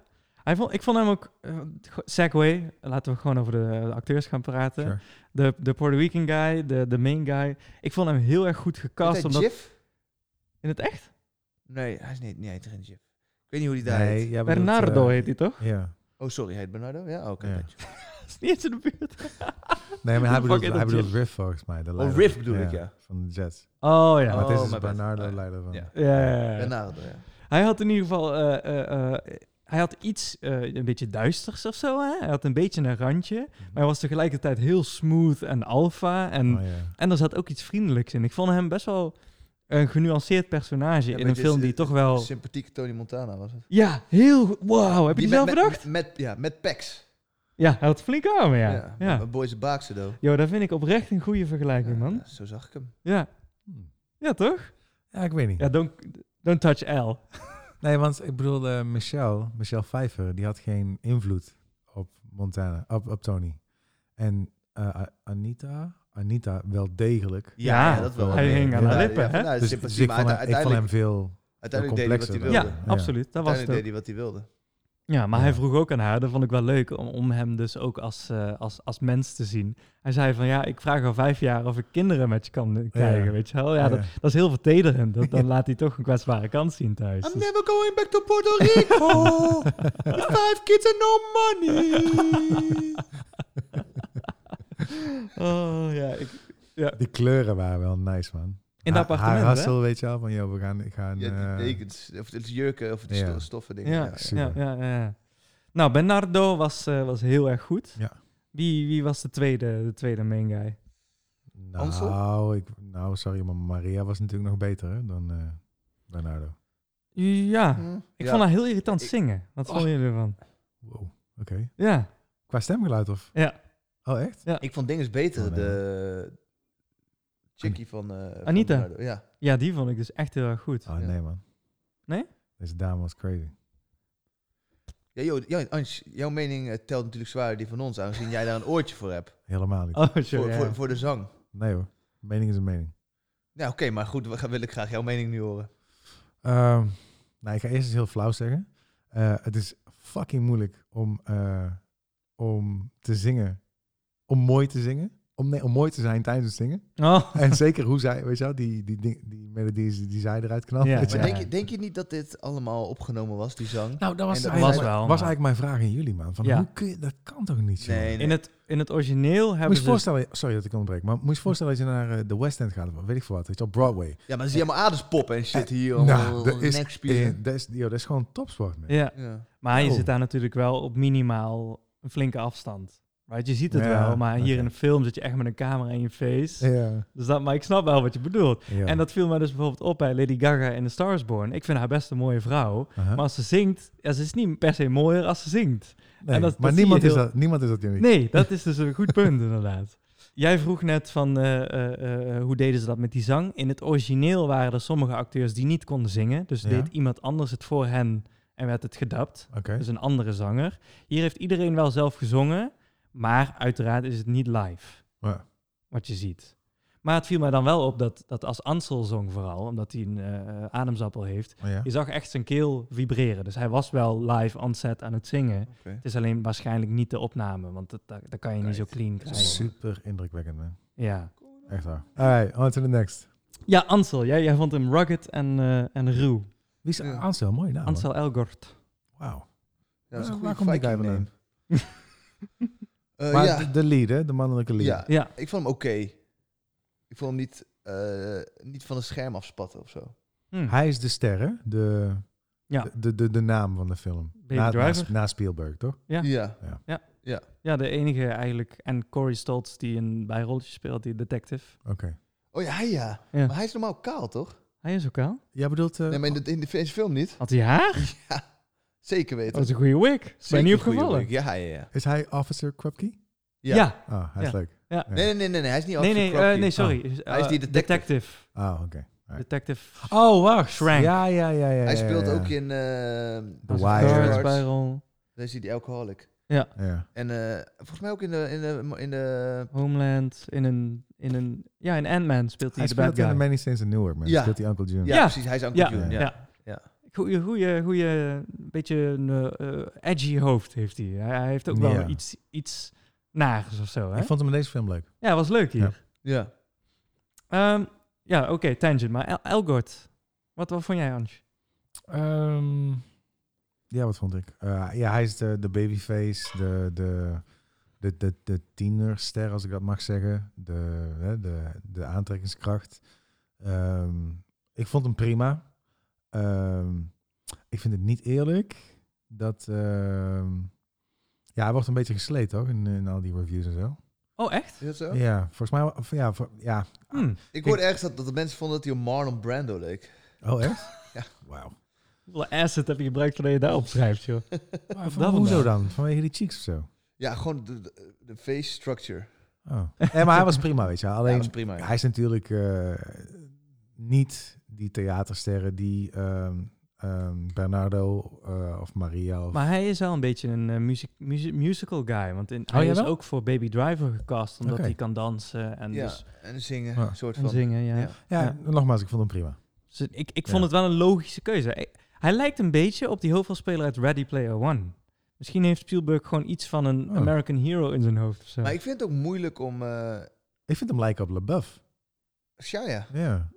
Speaker 2: hij vond, ik vond hem ook. eh, go- Segway, laten we gewoon over de, de acteurs gaan praten.
Speaker 1: Sure.
Speaker 2: De, de Puerto Rican guy, de, de main guy. Ik vond hem heel erg goed
Speaker 3: Heet
Speaker 2: gecast.
Speaker 3: hij
Speaker 2: Omdat,
Speaker 3: Jif?
Speaker 2: in het echt?
Speaker 3: Nee, hij is niet, nee, hij heet geen Jif. Ik weet niet hoe hij daar heet.
Speaker 1: ja, maar dat,
Speaker 2: Bernardo
Speaker 1: eh,
Speaker 2: heet hij toch?
Speaker 1: Ja.
Speaker 3: Oh, sorry, hij heet Bernardo? Ja, oké.
Speaker 1: Ja.
Speaker 3: weet je.
Speaker 2: Dat is niet eens in de buurt.
Speaker 1: Nee, maar hij
Speaker 2: Fuck
Speaker 1: bedoelt,
Speaker 2: it,
Speaker 1: hij
Speaker 2: dat
Speaker 1: bedoelt Riff volgens mij. De leider-
Speaker 3: Oh, Riff bedoel ik, ja.
Speaker 1: Van de Jets.
Speaker 2: Oh
Speaker 1: Maar
Speaker 2: ja.
Speaker 1: het
Speaker 3: Oh,
Speaker 1: is dus
Speaker 3: my bad.
Speaker 1: Bernardo,
Speaker 3: Ah, ja.
Speaker 1: leider van...
Speaker 3: Ja.
Speaker 2: Ja, ja, ja.
Speaker 3: Bernardo, ja.
Speaker 2: Hij had in ieder geval. eh, eh, eh, hij had iets eh, een beetje duisters of zo. Hè? Hij had een beetje een randje. Maar hij was tegelijkertijd heel smooth en alfa. En,
Speaker 1: Oh, ja.
Speaker 2: en er zat ook iets vriendelijks in. Ik vond hem best wel een genuanceerd personage
Speaker 3: Ja,
Speaker 2: in
Speaker 3: maar
Speaker 2: een
Speaker 3: dit is
Speaker 2: film
Speaker 3: de-
Speaker 2: die toch wel.
Speaker 3: Sympathieke Tony Montana was het.
Speaker 2: Ja, heel goed. Wauw, heb Oh. je die,
Speaker 3: met-
Speaker 2: zelf
Speaker 3: met-
Speaker 2: bedacht?
Speaker 3: Met, met- ja, met Pax.
Speaker 2: Ja, hij had flinke armen, ja.
Speaker 3: Ja.
Speaker 2: ja.
Speaker 3: met Boys Baakse, doe.
Speaker 2: Yo, dat vind ik oprecht een goede vergelijking,
Speaker 3: Ja,
Speaker 2: man.
Speaker 3: Zo zag ik hem.
Speaker 2: Ja.
Speaker 1: Hm.
Speaker 2: Ja, toch?
Speaker 1: Ja, ik weet niet.
Speaker 2: Ja, don't, don't touch L.
Speaker 1: Nee, want ik bedoel, eh, Michelle, Michelle Pfeiffer, die had geen invloed Montana, op, op Tony. En eh, A- Anita, Anita wel degelijk.
Speaker 2: Ja, hij hing aan
Speaker 1: de
Speaker 2: lippen, hè?
Speaker 3: Nou,
Speaker 1: Dus,
Speaker 3: sympathie,
Speaker 1: dus ik,
Speaker 3: maar
Speaker 1: vond hem,
Speaker 3: uite-
Speaker 1: ik vond hem
Speaker 3: uiteindelijk,
Speaker 1: veel
Speaker 3: uiteindelijk deed hij wat
Speaker 1: complexer
Speaker 3: hij
Speaker 1: dan.
Speaker 3: wilde.
Speaker 2: Ja,
Speaker 1: Ja.
Speaker 2: absoluut. Dat was het
Speaker 3: uiteindelijk
Speaker 2: ook.
Speaker 3: deed hij wat hij wilde.
Speaker 2: Ja, maar
Speaker 1: Ja.
Speaker 2: hij vroeg ook aan haar. Dat vond ik wel leuk om, om hem dus ook als, eh, als, als mens te zien. Hij zei van ja, ik vraag al vijf jaar of ik kinderen met je kan eh, krijgen,
Speaker 1: Ja.
Speaker 2: weet je wel. Ja, dat, dat is heel vertederend. Dat, dan laat hij toch een kwetsbare kant zien thuis.
Speaker 3: I'm
Speaker 2: Dus-
Speaker 3: never going back to Puerto Rico. With five kids and no money.
Speaker 2: oh, ja, ik,
Speaker 1: Die kleuren waren wel nice, man.
Speaker 2: in
Speaker 1: Ha-
Speaker 2: dat appartement,
Speaker 1: Haar
Speaker 2: hè?
Speaker 1: hassel, weet je wel, van joh, we gaan... Ik ga een,
Speaker 3: Ja, die
Speaker 1: eh,
Speaker 3: dekens. Of het jurken of het
Speaker 1: Ja.
Speaker 3: sto- stoffen dingen.
Speaker 2: Ja, ja,
Speaker 1: super.
Speaker 2: ja, ja, ja. Nou, Bernardo was, eh, was heel erg goed.
Speaker 1: Ja.
Speaker 2: Wie, wie was de tweede, de tweede main guy?
Speaker 1: nou, ik, nou, sorry, maar Maria was natuurlijk nog beter hè, dan eh Bernardo.
Speaker 2: Ja,
Speaker 3: Hm?
Speaker 2: ik
Speaker 3: Ja.
Speaker 2: vond haar heel irritant
Speaker 3: Ik-
Speaker 2: zingen. Wat
Speaker 3: Oh.
Speaker 2: vonden jullie ervan?
Speaker 1: Wow, oké.
Speaker 2: Ja,
Speaker 1: Qua stemgeluid of?
Speaker 2: Ja.
Speaker 1: Oh, echt?
Speaker 3: Ik vond dingen beter.
Speaker 1: Oh, nee.
Speaker 3: De chickie van... eh, van
Speaker 2: Anita.
Speaker 3: Bernardo. Ja.
Speaker 2: ja, die vond ik dus echt heel erg goed.
Speaker 1: Oh,
Speaker 3: Ja.
Speaker 1: nee, man.
Speaker 2: Nee?
Speaker 1: Deze dame was crazy.
Speaker 3: Ja, joh, Jan, Ans, jouw mening eh, telt natuurlijk zwaarder die van ons, aangezien jij daar een oortje voor hebt.
Speaker 1: Helemaal niet.
Speaker 2: Oh, sorry.
Speaker 3: voor,
Speaker 2: ja.
Speaker 3: voor, voor de zang.
Speaker 1: Nee hoor, mening is een mening.
Speaker 3: Ja, oké, maar goed, we gaan, wil ik graag jouw mening nu horen.
Speaker 1: Ehm, nou, ik ga eerst eens heel flauw zeggen. Eh, het is fucking moeilijk om, eh, om te zingen. Om mooi te zingen. Om, nee, om mooi te zijn tijdens het zingen.
Speaker 2: Oh.
Speaker 1: En zeker hoe zij, weet je wel, die, die, die, die melodie's die zij eruit knalt.
Speaker 2: Ja.
Speaker 1: weet je
Speaker 3: Maar
Speaker 1: wel.
Speaker 3: denk, je, denk je niet dat dit allemaal opgenomen was, die zang?
Speaker 1: Nou, dat was,
Speaker 3: En dat
Speaker 1: eigenlijk-
Speaker 2: was wel,
Speaker 1: was
Speaker 2: maar-
Speaker 1: eigenlijk mijn vraag aan jullie, man. Van,
Speaker 2: Ja.
Speaker 1: hoe kun je, dat kan toch niet, joh?
Speaker 3: Nee, nee.
Speaker 2: In, het, in het origineel
Speaker 1: Moet
Speaker 2: hebben
Speaker 1: je
Speaker 2: ze...
Speaker 1: voorstellen, sorry dat ik onderbreek, maar moet je voorstellen dat je naar eh, de West End gaat, of weet ik veel wat, weet je, op Broadway.
Speaker 3: Ja, maar zie je allemaal aderspoppen en shit hier.
Speaker 1: nou,
Speaker 3: allemaal
Speaker 1: dat is,
Speaker 3: nekspieren.
Speaker 1: eh, dat, is, joh, dat is gewoon topsport, man.
Speaker 2: Ja,
Speaker 3: Ja.
Speaker 2: maar je
Speaker 1: Oh.
Speaker 2: zit daar natuurlijk wel op minimaal een flinke afstand. Right? Je ziet het
Speaker 1: Ja,
Speaker 2: wel, maar hier
Speaker 1: oké.
Speaker 2: in een film zit je echt met een camera in je face.
Speaker 1: Ja,
Speaker 2: Dus dat, maar ik snap wel wat je bedoelt.
Speaker 1: ja.
Speaker 2: En dat viel mij dus bijvoorbeeld op bij Lady Gaga in The Stars Born. Ik vind haar best een mooie vrouw.
Speaker 1: Aha.
Speaker 2: Maar als ze zingt, ja, ze is niet per se mooier als ze zingt.
Speaker 1: Nee,
Speaker 2: en dat-
Speaker 1: maar
Speaker 2: dat
Speaker 1: niemand,
Speaker 2: zie je
Speaker 1: is
Speaker 2: heel-
Speaker 1: dat, niemand is dat uniek.
Speaker 2: Nee, dat is dus een goed punt inderdaad. Jij vroeg net van eh, eh, eh, hoe deden ze dat met die zang. In het origineel waren er sommige acteurs die niet konden zingen. Dus
Speaker 1: Ja.
Speaker 2: deed iemand anders het voor hen en werd het gedapt.
Speaker 1: Oké.
Speaker 2: Dus een andere zanger. Hier heeft iedereen wel zelf gezongen. Maar uiteraard is het niet live
Speaker 1: Ja.
Speaker 2: wat je ziet. Maar het viel mij dan wel op dat, dat als Ansel zong vooral, omdat hij een eh, ademsappel heeft,
Speaker 1: Oh, ja.
Speaker 2: je zag echt zijn keel vibreren. Dus hij was wel live on set aan het zingen.
Speaker 3: Oké.
Speaker 2: Het is alleen waarschijnlijk niet de opname, want dat, dat, dat kan je niet zo
Speaker 3: Right.
Speaker 2: clean
Speaker 1: Oh,
Speaker 3: Dat is
Speaker 2: krijgen.
Speaker 1: Super indrukwekkend, man.
Speaker 2: Ja,
Speaker 1: Echt waar. Alright, on to the next.
Speaker 2: ja Ansel, jij, jij vond hem rugged en, eh, en ruw.
Speaker 1: Wie is
Speaker 3: Ja.
Speaker 1: Ansel? Mooie naam. man.
Speaker 2: Ansel Elgort.
Speaker 1: Wauw.
Speaker 3: Ja, dat is
Speaker 1: Waar-
Speaker 3: een
Speaker 1: waar
Speaker 2: Nou,
Speaker 3: goede
Speaker 1: komt die guy
Speaker 3: Viking name. Eh,
Speaker 1: maar
Speaker 3: ja.
Speaker 1: de, de lead, hè? De mannelijke lead.
Speaker 3: ja,
Speaker 2: Ja,
Speaker 3: ik vond hem oké. Ik vond hem niet, eh, niet van het scherm afspatten of zo.
Speaker 2: Hm.
Speaker 1: Hij is de ster, hè? De,
Speaker 2: Ja.
Speaker 1: de, de, de, de naam van de film.
Speaker 2: Baby Driver.
Speaker 1: na Spielberg, toch?
Speaker 2: Ja.
Speaker 3: ja.
Speaker 2: ja, de enige eigenlijk. En Corey Stoltz, die een bijrolletje speelt, die detective.
Speaker 1: Oké.
Speaker 3: Oh ja, hij ja.
Speaker 2: Ja.
Speaker 3: Maar hij is normaal kaal, toch?
Speaker 2: Hij is ook al.
Speaker 1: Jij bedoelt... eh,
Speaker 3: Nee, maar in de, in de in de film niet.
Speaker 2: Had hij haar?
Speaker 3: Zeker weten.
Speaker 2: Dat is een goede wig. Ben Oh, je niet
Speaker 3: Zeker goede
Speaker 2: opgevallen?
Speaker 3: work. Ja, ja, ja.
Speaker 1: Is hij officer Krupke?
Speaker 3: Ja.
Speaker 2: ja.
Speaker 1: Ah, hij is
Speaker 2: Ja.
Speaker 1: leuk.
Speaker 2: Ja.
Speaker 1: Nee.
Speaker 3: Nee, nee, nee, nee, nee, hij is
Speaker 2: Nee,
Speaker 3: niet Officer
Speaker 2: nee, eh,
Speaker 3: Crabtree.
Speaker 2: nee, sorry. Eh,
Speaker 3: Hij is die detective.
Speaker 2: detective.
Speaker 1: Ah, oké. Right.
Speaker 2: Detective.
Speaker 1: Oh, wacht.
Speaker 2: Shrank.
Speaker 1: Ja, ja, ja, ja.
Speaker 3: Hij
Speaker 1: ja,
Speaker 3: speelt
Speaker 1: ja, ja.
Speaker 3: ook in eh
Speaker 1: The
Speaker 2: House of
Speaker 1: Wire.
Speaker 2: Cards,
Speaker 3: Cards.
Speaker 2: Byron,
Speaker 3: Daar is hij die alcoholic.
Speaker 1: Ja.
Speaker 3: En eh, volgens mij ook in de... In de, in de
Speaker 2: Homeland, in een, in een... Ja, in Ant-Man speelt hij
Speaker 1: Hij
Speaker 2: de
Speaker 1: speelt
Speaker 2: bad
Speaker 1: in The
Speaker 2: guy.
Speaker 1: Many Saints in Newark, man.
Speaker 3: Ja.
Speaker 1: Speelt hij Uncle June.
Speaker 3: ja,
Speaker 2: Ja.
Speaker 3: precies. Hij is Uncle
Speaker 2: Ja.
Speaker 3: June. Ja.
Speaker 2: Ja.
Speaker 3: Ja.
Speaker 2: Goeie, goeie, goeie, een beetje een eh, eh, edgy hoofd heeft hij. Hij, hij heeft ook wel
Speaker 1: Ja.
Speaker 2: iets, iets nagers of zo, hè?
Speaker 1: Ik vond hem in deze film leuk.
Speaker 2: Ja, was leuk hier.
Speaker 3: Ja.
Speaker 2: Ja, ja oké, tangent. Maar El Elgort, wat, wat vond jij, Ange?
Speaker 1: Ehm, ja, wat vond ik? Eh, ja, hij is de, de babyface, de, de, de, de, de tienerster, als ik dat mag zeggen. De, hè, de, de aantrekkingskracht. Ehm, ik vond hem prima. Ehm, ik vind het niet eerlijk dat... ehm, ja, hij wordt een beetje gesleept, toch? In, in al die reviews en zo.
Speaker 2: Oh, echt?
Speaker 3: Is dat zo?
Speaker 1: Ja, volgens mij... of Ja, voor- ja.
Speaker 2: Hm.
Speaker 3: Ik hoorde ergens dat, dat de mensen vonden dat hij op Marlon Brando leek.
Speaker 1: Oh, echt?
Speaker 3: Ja.
Speaker 1: Wauw.
Speaker 2: Hoeveel asset heb je gebruikt voordat je daarop schrijft, joh?
Speaker 1: Maar van-
Speaker 2: dat
Speaker 1: Hoezo
Speaker 2: vandaan?
Speaker 1: dan? Vanwege die cheeks of zo?
Speaker 3: Ja, gewoon de, de, de face structure.
Speaker 1: Oh. Nee, maar hij was prima, weet je. wel.
Speaker 3: Ja,
Speaker 1: Alleen,
Speaker 3: dat is prima. ja.
Speaker 1: Hij is natuurlijk eh, niet die theatersterren die ehm, ehm, Bernardo eh, of Maria. Of,
Speaker 2: Maar hij is wel een beetje een eh, muziek- muzie- musical guy. Want in, hij
Speaker 1: jij
Speaker 2: is
Speaker 1: Oh, wel?
Speaker 2: ook voor Baby Driver gecast, omdat
Speaker 1: Oké.
Speaker 2: hij kan dansen en,
Speaker 3: ja,
Speaker 2: dus,
Speaker 3: en zingen,
Speaker 1: Ja.
Speaker 3: een soort
Speaker 2: en
Speaker 3: van.
Speaker 2: zingen. Ja.
Speaker 3: Ja.
Speaker 1: ja,
Speaker 2: ja.
Speaker 1: nogmaals, ik vond hem prima.
Speaker 2: Dus ik, ik vond
Speaker 1: Ja.
Speaker 2: het wel een logische keuze. Hij, hij lijkt een beetje op die hoofdrolspeler uit Ready Player One. Misschien heeft Spielberg gewoon iets van een
Speaker 1: Oh.
Speaker 2: American hero in zijn hoofd of zo.
Speaker 3: Maar ik vind het ook moeilijk om... eh
Speaker 1: Ik vind hem lijken op LeBeouf.
Speaker 3: Shia.
Speaker 1: Ja.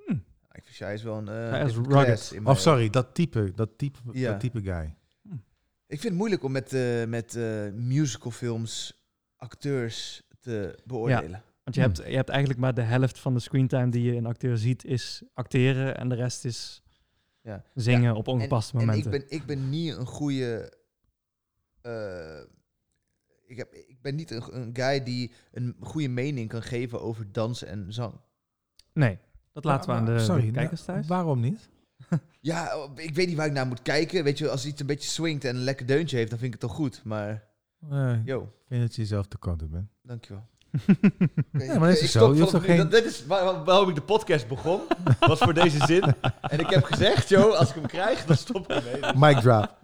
Speaker 3: Ik vind Shia is wel een... eh,
Speaker 2: Hij is
Speaker 3: different
Speaker 2: rugged.
Speaker 3: class in mijn
Speaker 1: Of sorry, dat type, dat type,
Speaker 3: Ja.
Speaker 1: dat type guy.
Speaker 3: Ik vind het moeilijk om met, eh, met eh, musicalfilms acteurs te beoordelen.
Speaker 2: Want je,
Speaker 1: Hmm.
Speaker 2: hebt, je hebt eigenlijk maar de helft van de screentime die je in acteur ziet is acteren en de rest is
Speaker 3: Ja.
Speaker 2: zingen op ongepaste
Speaker 3: En ik
Speaker 2: momenten.
Speaker 3: ben, ik ben niet een goede... eh, ik, heb, ik ben niet een, een guy die een goede mening kan geven over dans en zang.
Speaker 2: Nee, dat laten we aan de,
Speaker 1: Sorry,
Speaker 2: de kijkers
Speaker 1: nou,
Speaker 2: thuis.
Speaker 1: Waarom niet?
Speaker 3: Ja, oh, ik weet niet waar ik naar moet kijken. Weet je, als iets een beetje swingt en een lekker deuntje heeft, dan vind ik het toch goed. Maar,
Speaker 1: Eh, ik
Speaker 3: yo,
Speaker 1: vind dat je jezelf te kant bent.
Speaker 3: dankjewel.
Speaker 1: Ja, maar dat is dus
Speaker 3: Ik
Speaker 1: zo.
Speaker 3: stop
Speaker 1: Je hoeft
Speaker 3: vanaf
Speaker 1: toch
Speaker 3: nu-
Speaker 1: geen-
Speaker 3: dat- Dit is waar- waar- waarom ik de podcast begon. was voor deze zin. En ik heb gezegd, joh, als ik hem krijg, dan stop ik ermee.
Speaker 1: Mic drop.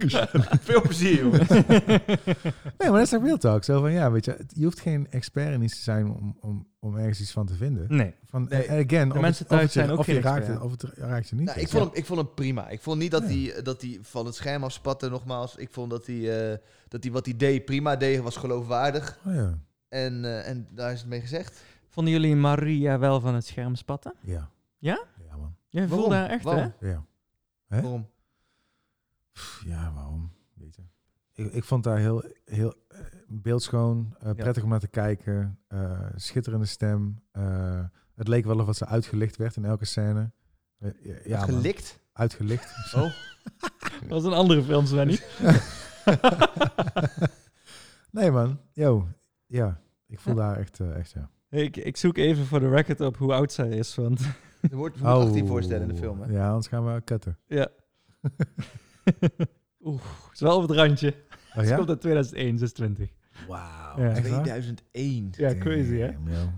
Speaker 3: Veel plezier, jongens.
Speaker 1: Nee, maar dat is toch real talk. Zo van, ja, weet je, het- je hoeft geen expert in iets te zijn om, om, om ergens iets van te vinden.
Speaker 2: Nee,
Speaker 1: Van,
Speaker 3: Nee.
Speaker 1: en again, of
Speaker 2: mensen
Speaker 1: het- of
Speaker 2: thuis
Speaker 1: het je-
Speaker 2: zijn ook
Speaker 1: of je
Speaker 2: geen
Speaker 1: raakt
Speaker 2: expert.
Speaker 1: het, Of het raakt je niet.
Speaker 3: Nou, ik,
Speaker 1: echt.
Speaker 3: vond hem, ik vond hem prima. Ik vond niet dat
Speaker 1: Ja.
Speaker 3: hij eh, dat hij van het scherm af spatte nogmaals. Ik vond dat hij, eh, dat hij wat hij deed prima deed, was geloofwaardig.
Speaker 1: Oh, ja.
Speaker 3: En, eh, en daar is het mee gezegd.
Speaker 2: vonden jullie Maria wel van het scherm spatten?
Speaker 1: ja.
Speaker 2: Ja?
Speaker 1: Ja, man.
Speaker 2: Jij
Speaker 3: Waarom?
Speaker 2: voelde haar echt, hè?
Speaker 3: Waarom?
Speaker 1: Ja. Hè?
Speaker 3: Waarom?
Speaker 1: Pff, Ja, waarom? Weet je. Ik, ik vond daar heel, heel eh, beeldschoon, eh, prettig om naar te kijken, eh, schitterende stem. eh, het leek wel of wat ze uitgelicht werd in elke scène. Eh, ja, ja, man.
Speaker 3: Gelikt?
Speaker 1: Uitgelicht.
Speaker 3: Oh.
Speaker 2: Dat was een andere film, Svenny.
Speaker 1: nee, man. Yo. Ja, ik voel daar echt, eh, echt ja.
Speaker 2: ik, ik zoek even voor de record op hoe oud zij is, want
Speaker 3: Er wordt er moet
Speaker 1: Oh.
Speaker 3: 18 voorstellen in de film, hè?
Speaker 1: Ja, anders gaan we kutten.
Speaker 2: ja. Oeh, het is wel op het randje.
Speaker 1: Oh,
Speaker 2: Ze
Speaker 1: ja?
Speaker 2: komt uit 2001, ze is 20.
Speaker 1: Wauw.
Speaker 2: Ja.
Speaker 1: Echt waar?
Speaker 3: 2001.
Speaker 2: Ja, crazy, hè?
Speaker 1: Damn, yo.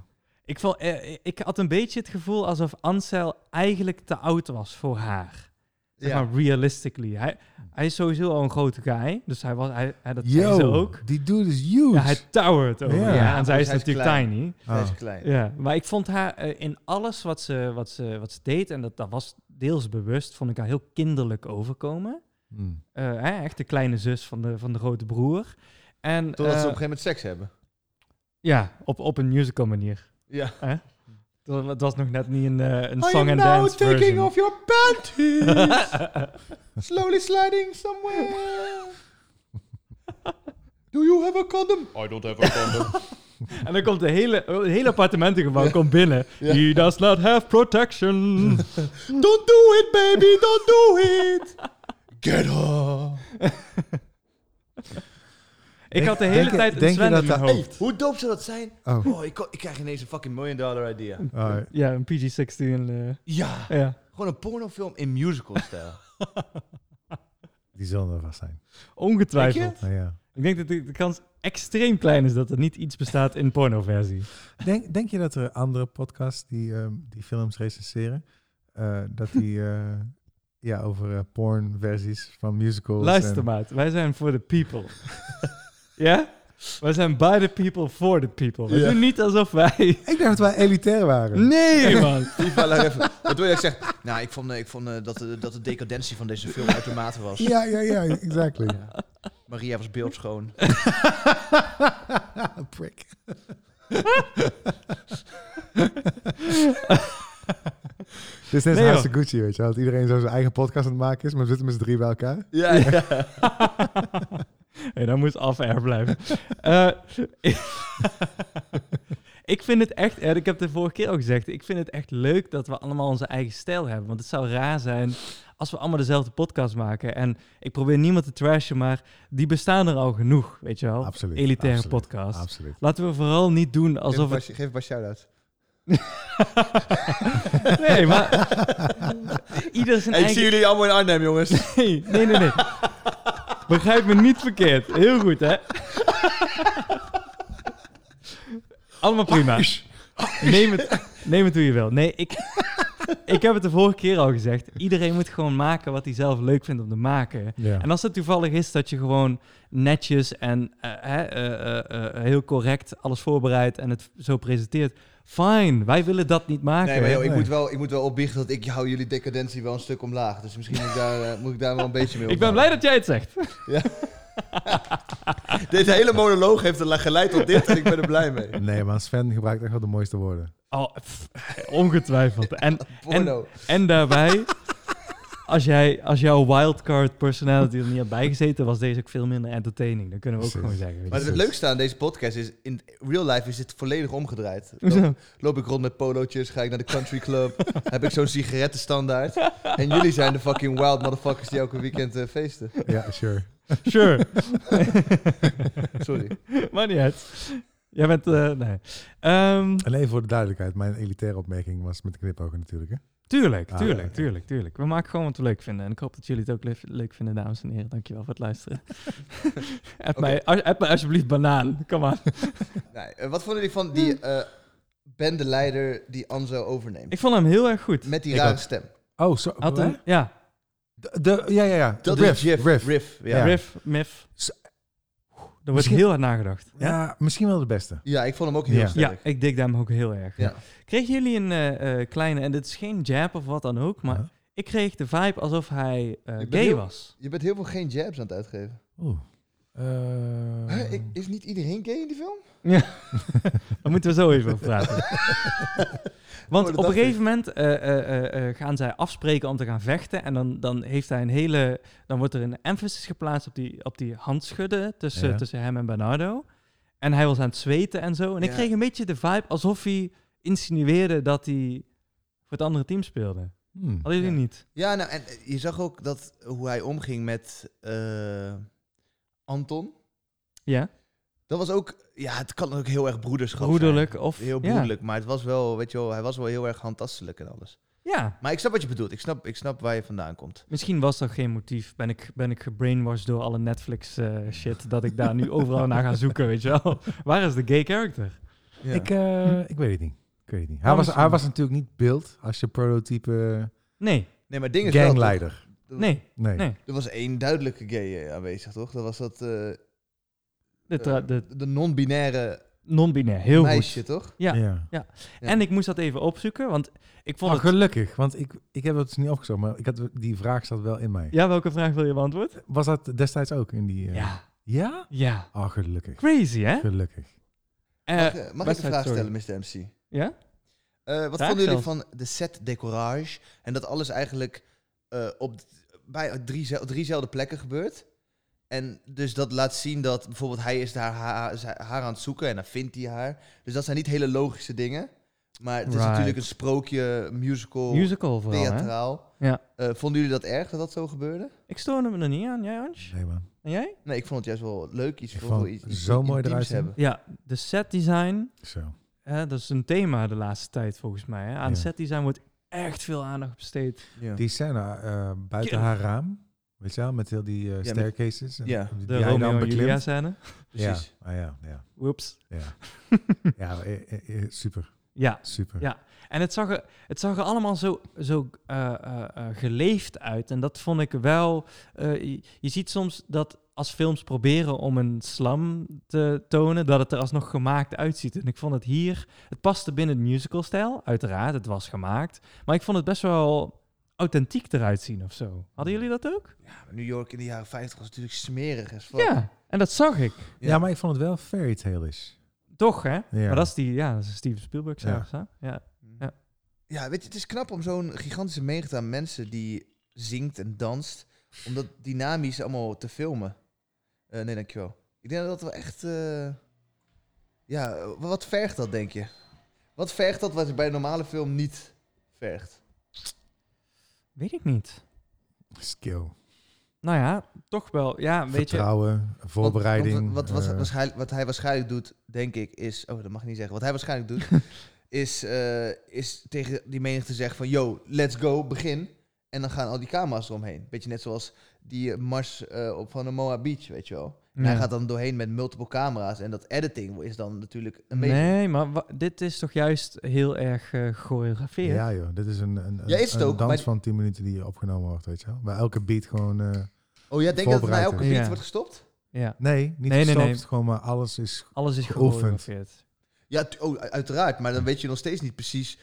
Speaker 2: Ik, vond, eh, ik had een beetje het gevoel alsof Ansel eigenlijk te oud was voor haar. Zeg
Speaker 3: Ja.
Speaker 2: maar realistically. Hij, hij is sowieso al een grote guy, dus hij was, hij, hij- dat zei
Speaker 1: Yo,
Speaker 2: ze ook.
Speaker 1: die dude is huge.
Speaker 2: Ja, hij towert over.
Speaker 1: Ja.
Speaker 2: Ja.
Speaker 1: Ja,
Speaker 2: en zij
Speaker 3: dus
Speaker 2: is
Speaker 3: hij is
Speaker 2: natuurlijk
Speaker 3: klein.
Speaker 2: tiny.
Speaker 3: Hij is
Speaker 1: Oh.
Speaker 3: klein.
Speaker 2: Ja, maar ik vond haar eh, in alles wat ze, wat, ze, wat ze deed, en dat, dat was deels bewust, vond ik haar heel kinderlijk overkomen.
Speaker 1: Hmm.
Speaker 2: Eh, hè, echt de kleine zus van de, van de grote broer. En, eh,
Speaker 3: Totdat ze op een gegeven moment seks hebben.
Speaker 2: Ja, op, op een musical manier.
Speaker 3: Ja.
Speaker 2: Dat- Het was nog net niet een, eh, een song and dance version.
Speaker 3: your panties. Slowly sliding somewhere. Do you have a condom? I don't have a condom.
Speaker 2: en dan komt de hele, het hele appartementengebouw komt binnen. He does not have protection.
Speaker 3: don't do it, baby. Don't do it. Get up.
Speaker 2: ik had de
Speaker 1: Denk-
Speaker 2: hele
Speaker 1: denk-
Speaker 2: tijd een
Speaker 1: denk je
Speaker 2: Sven
Speaker 1: dat
Speaker 2: in mijn
Speaker 1: dat-
Speaker 2: hoofd.
Speaker 3: Hoe dope zou dat zijn?
Speaker 1: Oh.
Speaker 3: Oh, ik, ko- ik krijg ineens een fucking million dollar idea.
Speaker 1: Alright.
Speaker 2: Ja, een PG-16. eh,
Speaker 3: Ja.
Speaker 2: ja.
Speaker 3: Gewoon een pornofilm in musical-stijl.
Speaker 1: Die zullen er vast zijn.
Speaker 2: Ongetwijfeld.
Speaker 3: Denk
Speaker 1: Nou, ja.
Speaker 2: Ik denk dat de, de kans extreem klein is dat er niet iets bestaat in pornoversie.
Speaker 1: Denk, denk je dat er andere podcasts die, ehm, die films recenseren, eh, dat die eh, ja, over eh, pornversies van musicals...
Speaker 2: Luister
Speaker 1: en-
Speaker 2: maat, wij zijn voor de people. ja? Wij zijn by the people, for the people. We
Speaker 3: Ja.
Speaker 2: doen niet alsof wij...
Speaker 1: Ik dacht dat wij elitair waren.
Speaker 2: Nee man!
Speaker 3: FIFA, laat even. Wat wil je dat ik zeg? Nou, ik vond, eh, ik vond eh, dat, de, dat de decadentie van deze film uit de mate was.
Speaker 1: Ja, ja, ja, exactly.
Speaker 3: Maria was beeldschoon.
Speaker 1: Prick. Dit is net
Speaker 2: Nee,
Speaker 1: zoals Gucci, weet je wel. Dat iedereen zo zijn eigen podcast aan het maken is, maar we zitten met z'n drie bij elkaar.
Speaker 3: Ja, ja.
Speaker 2: Nee, dat moet af-air blijven. Eh, ik vind het echt, en ik heb het de vorige keer ook gezegd, ik vind het echt leuk dat we allemaal onze eigen stijl hebben. Want het zou raar zijn als we allemaal dezelfde podcast maken. En ik probeer niemand te trashen, maar die bestaan er al genoeg, weet je wel.
Speaker 1: Absoluut.
Speaker 2: Elitaire
Speaker 1: absoluut,
Speaker 2: podcast.
Speaker 1: Absoluut.
Speaker 2: Laten we vooral niet doen alsof het...
Speaker 3: Geef een paar shout-outs.
Speaker 2: Nee, maar... Ieder zijn eigen...
Speaker 3: jullie allemaal in Arnhem, jongens.
Speaker 2: Nee, nee, nee, nee. Begrijp me niet verkeerd. Heel goed, hè? Allemaal prima. Neem het, neem het hoe je wil. Nee, ik, ik heb het de vorige keer al gezegd. Iedereen moet gewoon maken wat hij zelf leuk vindt om te maken.
Speaker 1: Ja.
Speaker 2: En als het toevallig is dat je gewoon netjes en eh, hè, eh, eh, eh, heel correct alles voorbereidt en het zo presenteert, fine. Wij willen dat niet maken.
Speaker 3: nee, maar joh, ik,
Speaker 1: nee.
Speaker 3: Moet wel, ik moet wel opbiechten dat ik hou jullie decadentie wel een stuk omlaag. Dus misschien moet ik daar, eh, moet ik daar wel een beetje mee
Speaker 2: ik ben blij dat jij het zegt.
Speaker 3: ophouden. Deze hele monoloog heeft er geleid tot dit en ik ben er blij mee.
Speaker 1: Nee, maar Sven gebruikt echt wel de mooiste woorden.
Speaker 2: Oh, pff, ongetwijfeld. En, en,
Speaker 3: Porno.
Speaker 2: en daarbij, als, jij, als jouw wildcard personality er niet had bijgezeten, was deze ook veel minder entertaining. Dat kunnen we ook
Speaker 1: Precies.
Speaker 2: gewoon zeggen. weet
Speaker 3: Maar
Speaker 2: je.
Speaker 3: het leukste aan deze podcast is, in real life is dit volledig omgedraaid.
Speaker 2: Hoezo?
Speaker 3: Loop, loop ik rond met polootjes, ga ik naar de country club, heb ik zo'n sigarettenstandaard. En jullie zijn de fucking wild motherfuckers die elke weekend eh, feesten.
Speaker 1: Ja, sure.
Speaker 2: Sure.
Speaker 3: Sorry.
Speaker 2: maar niet uit. Jij bent, eh, nee. Ehm,
Speaker 1: En even voor de duidelijkheid, mijn elitaire opmerking was met de knipogen natuurlijk. Hè?
Speaker 2: tuurlijk,
Speaker 1: Ah,
Speaker 2: tuurlijk,
Speaker 1: oké.
Speaker 2: tuurlijk, tuurlijk. We maken gewoon wat we leuk vinden. En ik hoop dat jullie het ook leuk- leuk vinden, dames en heren. Dankjewel voor het luisteren. app, mij, als- app mij alsjeblieft banaan. Kom aan.
Speaker 3: Nee, eh, wat vonden jullie van die eh bendeleider die Anzo overneemt?
Speaker 2: Ik vond hem heel erg goed.
Speaker 3: Met die
Speaker 1: Ik
Speaker 3: rare
Speaker 1: ook.
Speaker 3: stem.
Speaker 1: Oh, zo.
Speaker 2: Had
Speaker 1: hè?
Speaker 2: een, ja,
Speaker 1: De, de- ja, ja, ja.
Speaker 3: Dat
Speaker 1: riff,
Speaker 3: is Jeff.
Speaker 1: riff.
Speaker 3: Riff, ja.
Speaker 1: Ja.
Speaker 2: riff, mif.
Speaker 1: S-
Speaker 2: Er wordt
Speaker 1: Misschien-
Speaker 2: heel hard nagedacht.
Speaker 1: Ja, misschien wel de beste.
Speaker 3: Ja, ik vond hem ook heel
Speaker 1: Ja.
Speaker 2: Ja,
Speaker 3: sterk.
Speaker 2: ik dik hem ook heel erg.
Speaker 3: Ja.
Speaker 2: Kregen jullie een eh, eh, kleine, en dit is geen jab of wat dan ook, maar
Speaker 1: Ja.
Speaker 2: ik kreeg de vibe alsof hij eh,
Speaker 3: ben
Speaker 2: gay
Speaker 3: heel-
Speaker 2: was.
Speaker 3: Je bent heel veel geen jabs aan het uitgeven.
Speaker 1: Oeh. Eh,
Speaker 3: Huh, ik- is niet iedereen gay in die film?
Speaker 2: Daar moeten we zo even over praten. Want
Speaker 3: Oh,
Speaker 2: op een
Speaker 3: dat dacht ik.
Speaker 2: gegeven moment eh, eh, eh, eh, gaan zij afspreken om te gaan vechten. En dan, dan heeft hij een hele. Dan wordt er een emphasis geplaatst op die, op die handschudden tussen,
Speaker 1: Ja.
Speaker 2: tussen hem en Bernardo. En hij was aan het zweten en zo. En ik
Speaker 3: Ja.
Speaker 2: kreeg een beetje de vibe alsof hij insinueerde dat hij voor het andere team speelde.
Speaker 1: hmm.
Speaker 2: Hadden jullie
Speaker 3: Ja.
Speaker 2: niet?
Speaker 3: Ja, nou, en eh, je zag ook dat hoe hij omging met eh, Anton.
Speaker 2: Ja,
Speaker 3: Dat was ook, ja, het kan ook heel erg broederschap zijn.
Speaker 2: broederlijk of.
Speaker 3: Heel
Speaker 2: ja.
Speaker 3: broederlijk, maar het was wel, weet je wel, hij was wel heel erg handtastelijk en alles.
Speaker 2: Ja,
Speaker 3: Maar ik snap wat je bedoelt. Ik snap, ik snap waar je vandaan komt.
Speaker 2: misschien was dat geen motief. Ben ik, ben ik gebrainwashed door alle Netflix eh, shit. Dat ik daar nu overal naar ga zoeken, weet je wel. Waar is de gay character?
Speaker 3: Ja.
Speaker 1: Ik, eh,
Speaker 2: Hm.
Speaker 1: ik weet het niet. Ik weet het niet. Hij was,
Speaker 2: Nou, misschien-
Speaker 1: hij was natuurlijk niet beeld als je prototype
Speaker 2: Nee,
Speaker 3: nee, maar het ding is wel,
Speaker 1: gangleider.
Speaker 3: toch,
Speaker 2: nee.
Speaker 1: Nee.
Speaker 2: Nee.
Speaker 3: Er was één duidelijke gay eh, aanwezig, toch? Dat was dat eh,
Speaker 2: De, tra- de
Speaker 3: de non-binaire
Speaker 2: non-binair, heel
Speaker 3: meisje,
Speaker 2: goed.
Speaker 3: toch?
Speaker 2: Ja.
Speaker 1: Ja.
Speaker 3: Ja.
Speaker 2: En ik moest dat even opzoeken, want ik vond
Speaker 1: Maar
Speaker 2: het...
Speaker 1: gelukkig, want ik, ik heb het dus niet opgezocht, maar ik had, die vraag zat wel in mij.
Speaker 2: Ja, welke vraag wil je beantwoord?
Speaker 1: Was dat destijds ook in die... eh,
Speaker 2: Ja.
Speaker 1: Ja?
Speaker 2: Ja.
Speaker 1: Oh, gelukkig.
Speaker 2: Crazy, hè?
Speaker 1: Gelukkig.
Speaker 2: Eh,
Speaker 3: Mag, eh,
Speaker 2: best
Speaker 3: mag ik een
Speaker 2: uit,
Speaker 3: vraag
Speaker 2: sorry.
Speaker 3: stellen, Mr. MC?
Speaker 2: Ja?
Speaker 3: Eh, wat
Speaker 2: Graag
Speaker 3: vonden jullie van de set decorage? En dat alles eigenlijk eh, op d- bij drie, zel- driezelfde plekken gebeurt. En dus dat laat zien dat bijvoorbeeld hij is daar haar, zij- haar aan het zoeken en dan vindt hij haar. Dus dat zijn niet hele logische dingen. Maar het is
Speaker 2: Right.
Speaker 3: natuurlijk een sprookje, musical,
Speaker 2: Musical vooral, hè?
Speaker 3: oh, theatraal.
Speaker 2: Ja.
Speaker 3: Eh, vonden jullie dat erg dat dat zo gebeurde?
Speaker 2: Ik stoorde me er niet aan, jij, Ange?
Speaker 1: Nee, man.
Speaker 2: En jij?
Speaker 3: Nee, ik vond het juist wel leuk. Iets
Speaker 1: Ik
Speaker 3: voor
Speaker 1: vond
Speaker 3: voor iets, iets
Speaker 1: zo mooi
Speaker 3: intiems
Speaker 1: eruit zien.
Speaker 3: hebben.
Speaker 2: Ja, de set design,
Speaker 1: Zo.
Speaker 2: dat is een thema de laatste tijd volgens mij. Hè? Aan
Speaker 1: Ja.
Speaker 2: set design wordt echt veel aandacht besteed.
Speaker 3: Ja.
Speaker 1: Die scène eh, buiten
Speaker 2: Ja.
Speaker 1: haar raam, weet je wel, met heel die eh,
Speaker 3: met-
Speaker 1: staircases. en-
Speaker 3: ja,
Speaker 1: die
Speaker 2: De
Speaker 1: hij dan
Speaker 2: Romeo en
Speaker 1: beklimt.
Speaker 2: Julia scène.
Speaker 1: Ja,
Speaker 3: Precies. Hm.
Speaker 1: ah, ja, ja.
Speaker 2: Whoops.
Speaker 1: Ja, ja eh, eh, eh, super,
Speaker 2: Ja,
Speaker 1: super.
Speaker 2: Ja. En het zag er, het zag er allemaal zo, zo eh, eh, eh, geleefd uit. En dat vond ik wel. eh, je, je ziet soms dat als films proberen om een slam te tonen, dat het er alsnog gemaakt uitziet. En ik vond het hier. Het paste binnen het musicalstijl, uiteraard. Het was gemaakt. Maar ik vond het best wel authentiek eruit zien of zo. Hadden jullie dat ook?
Speaker 3: Ja, New York in de jaren 50 was natuurlijk smerig as fuck.
Speaker 2: Ja. En dat zag ik.
Speaker 1: Ja. maar ik vond het wel fairy tale-ish.
Speaker 2: Toch, hè? Maar dat
Speaker 1: dat
Speaker 2: is die, ja, dat is Steven Spielberg zelfs, hè? Ja. Ja.
Speaker 3: Ja, weet je, het is knap om zo'n gigantische menigte aan mensen die zingt en danst, om dat dynamisch allemaal te filmen. Eh nee, dankjewel. Ik denk dat dat wel echt... eh, ja, eh, wat vergt dat, denk je? Wat vergt dat wat je bij een normale film niet vergt?
Speaker 2: Weet ik niet.
Speaker 1: Skill,
Speaker 2: Nou ja, toch wel. Ja, weet je.
Speaker 1: vertrouwen,
Speaker 3: Want-
Speaker 1: voorbereiding.
Speaker 3: Want, wat, wat,
Speaker 1: eh,
Speaker 3: waarschijnlijk, wat hij waarschijnlijk doet, denk ik, is... Oh, dat mag ik niet zeggen. Wat hij waarschijnlijk doet, is, eh, is tegen die menigte zeggen van... Yo, let's go, begin. En dan gaan al die camera's eromheen. Beetje net zoals die eh, mars eh, op van de Moa Beach, weet je wel. En Hij gaat dan doorheen met multiple camera's. En dat editing is dan natuurlijk een beetje...
Speaker 2: Nee, maar wa- dit is toch juist heel erg eh gechoreografeerd?
Speaker 1: Ja joh, dit is een, een, een,
Speaker 3: Ja, is het
Speaker 1: een
Speaker 3: ook,
Speaker 1: dans
Speaker 3: maar-
Speaker 1: van 10 minuten die opgenomen wordt, weet je wel. Bij elke beat gewoon... eh,
Speaker 3: Oh, jij denkt dat het na elke
Speaker 1: Voorbereid,
Speaker 3: beat
Speaker 2: hè? Ja.
Speaker 3: wordt gestopt?
Speaker 2: Ja.
Speaker 1: nee, niet
Speaker 2: Nee, nee,
Speaker 1: gestopt,
Speaker 2: nee.
Speaker 1: gewoon maar alles is...
Speaker 2: Alles is
Speaker 1: Geoefend.
Speaker 2: gechoreografeerd.
Speaker 3: Ja, tu- oh, u- uiteraard. Maar dan weet je nog steeds niet precies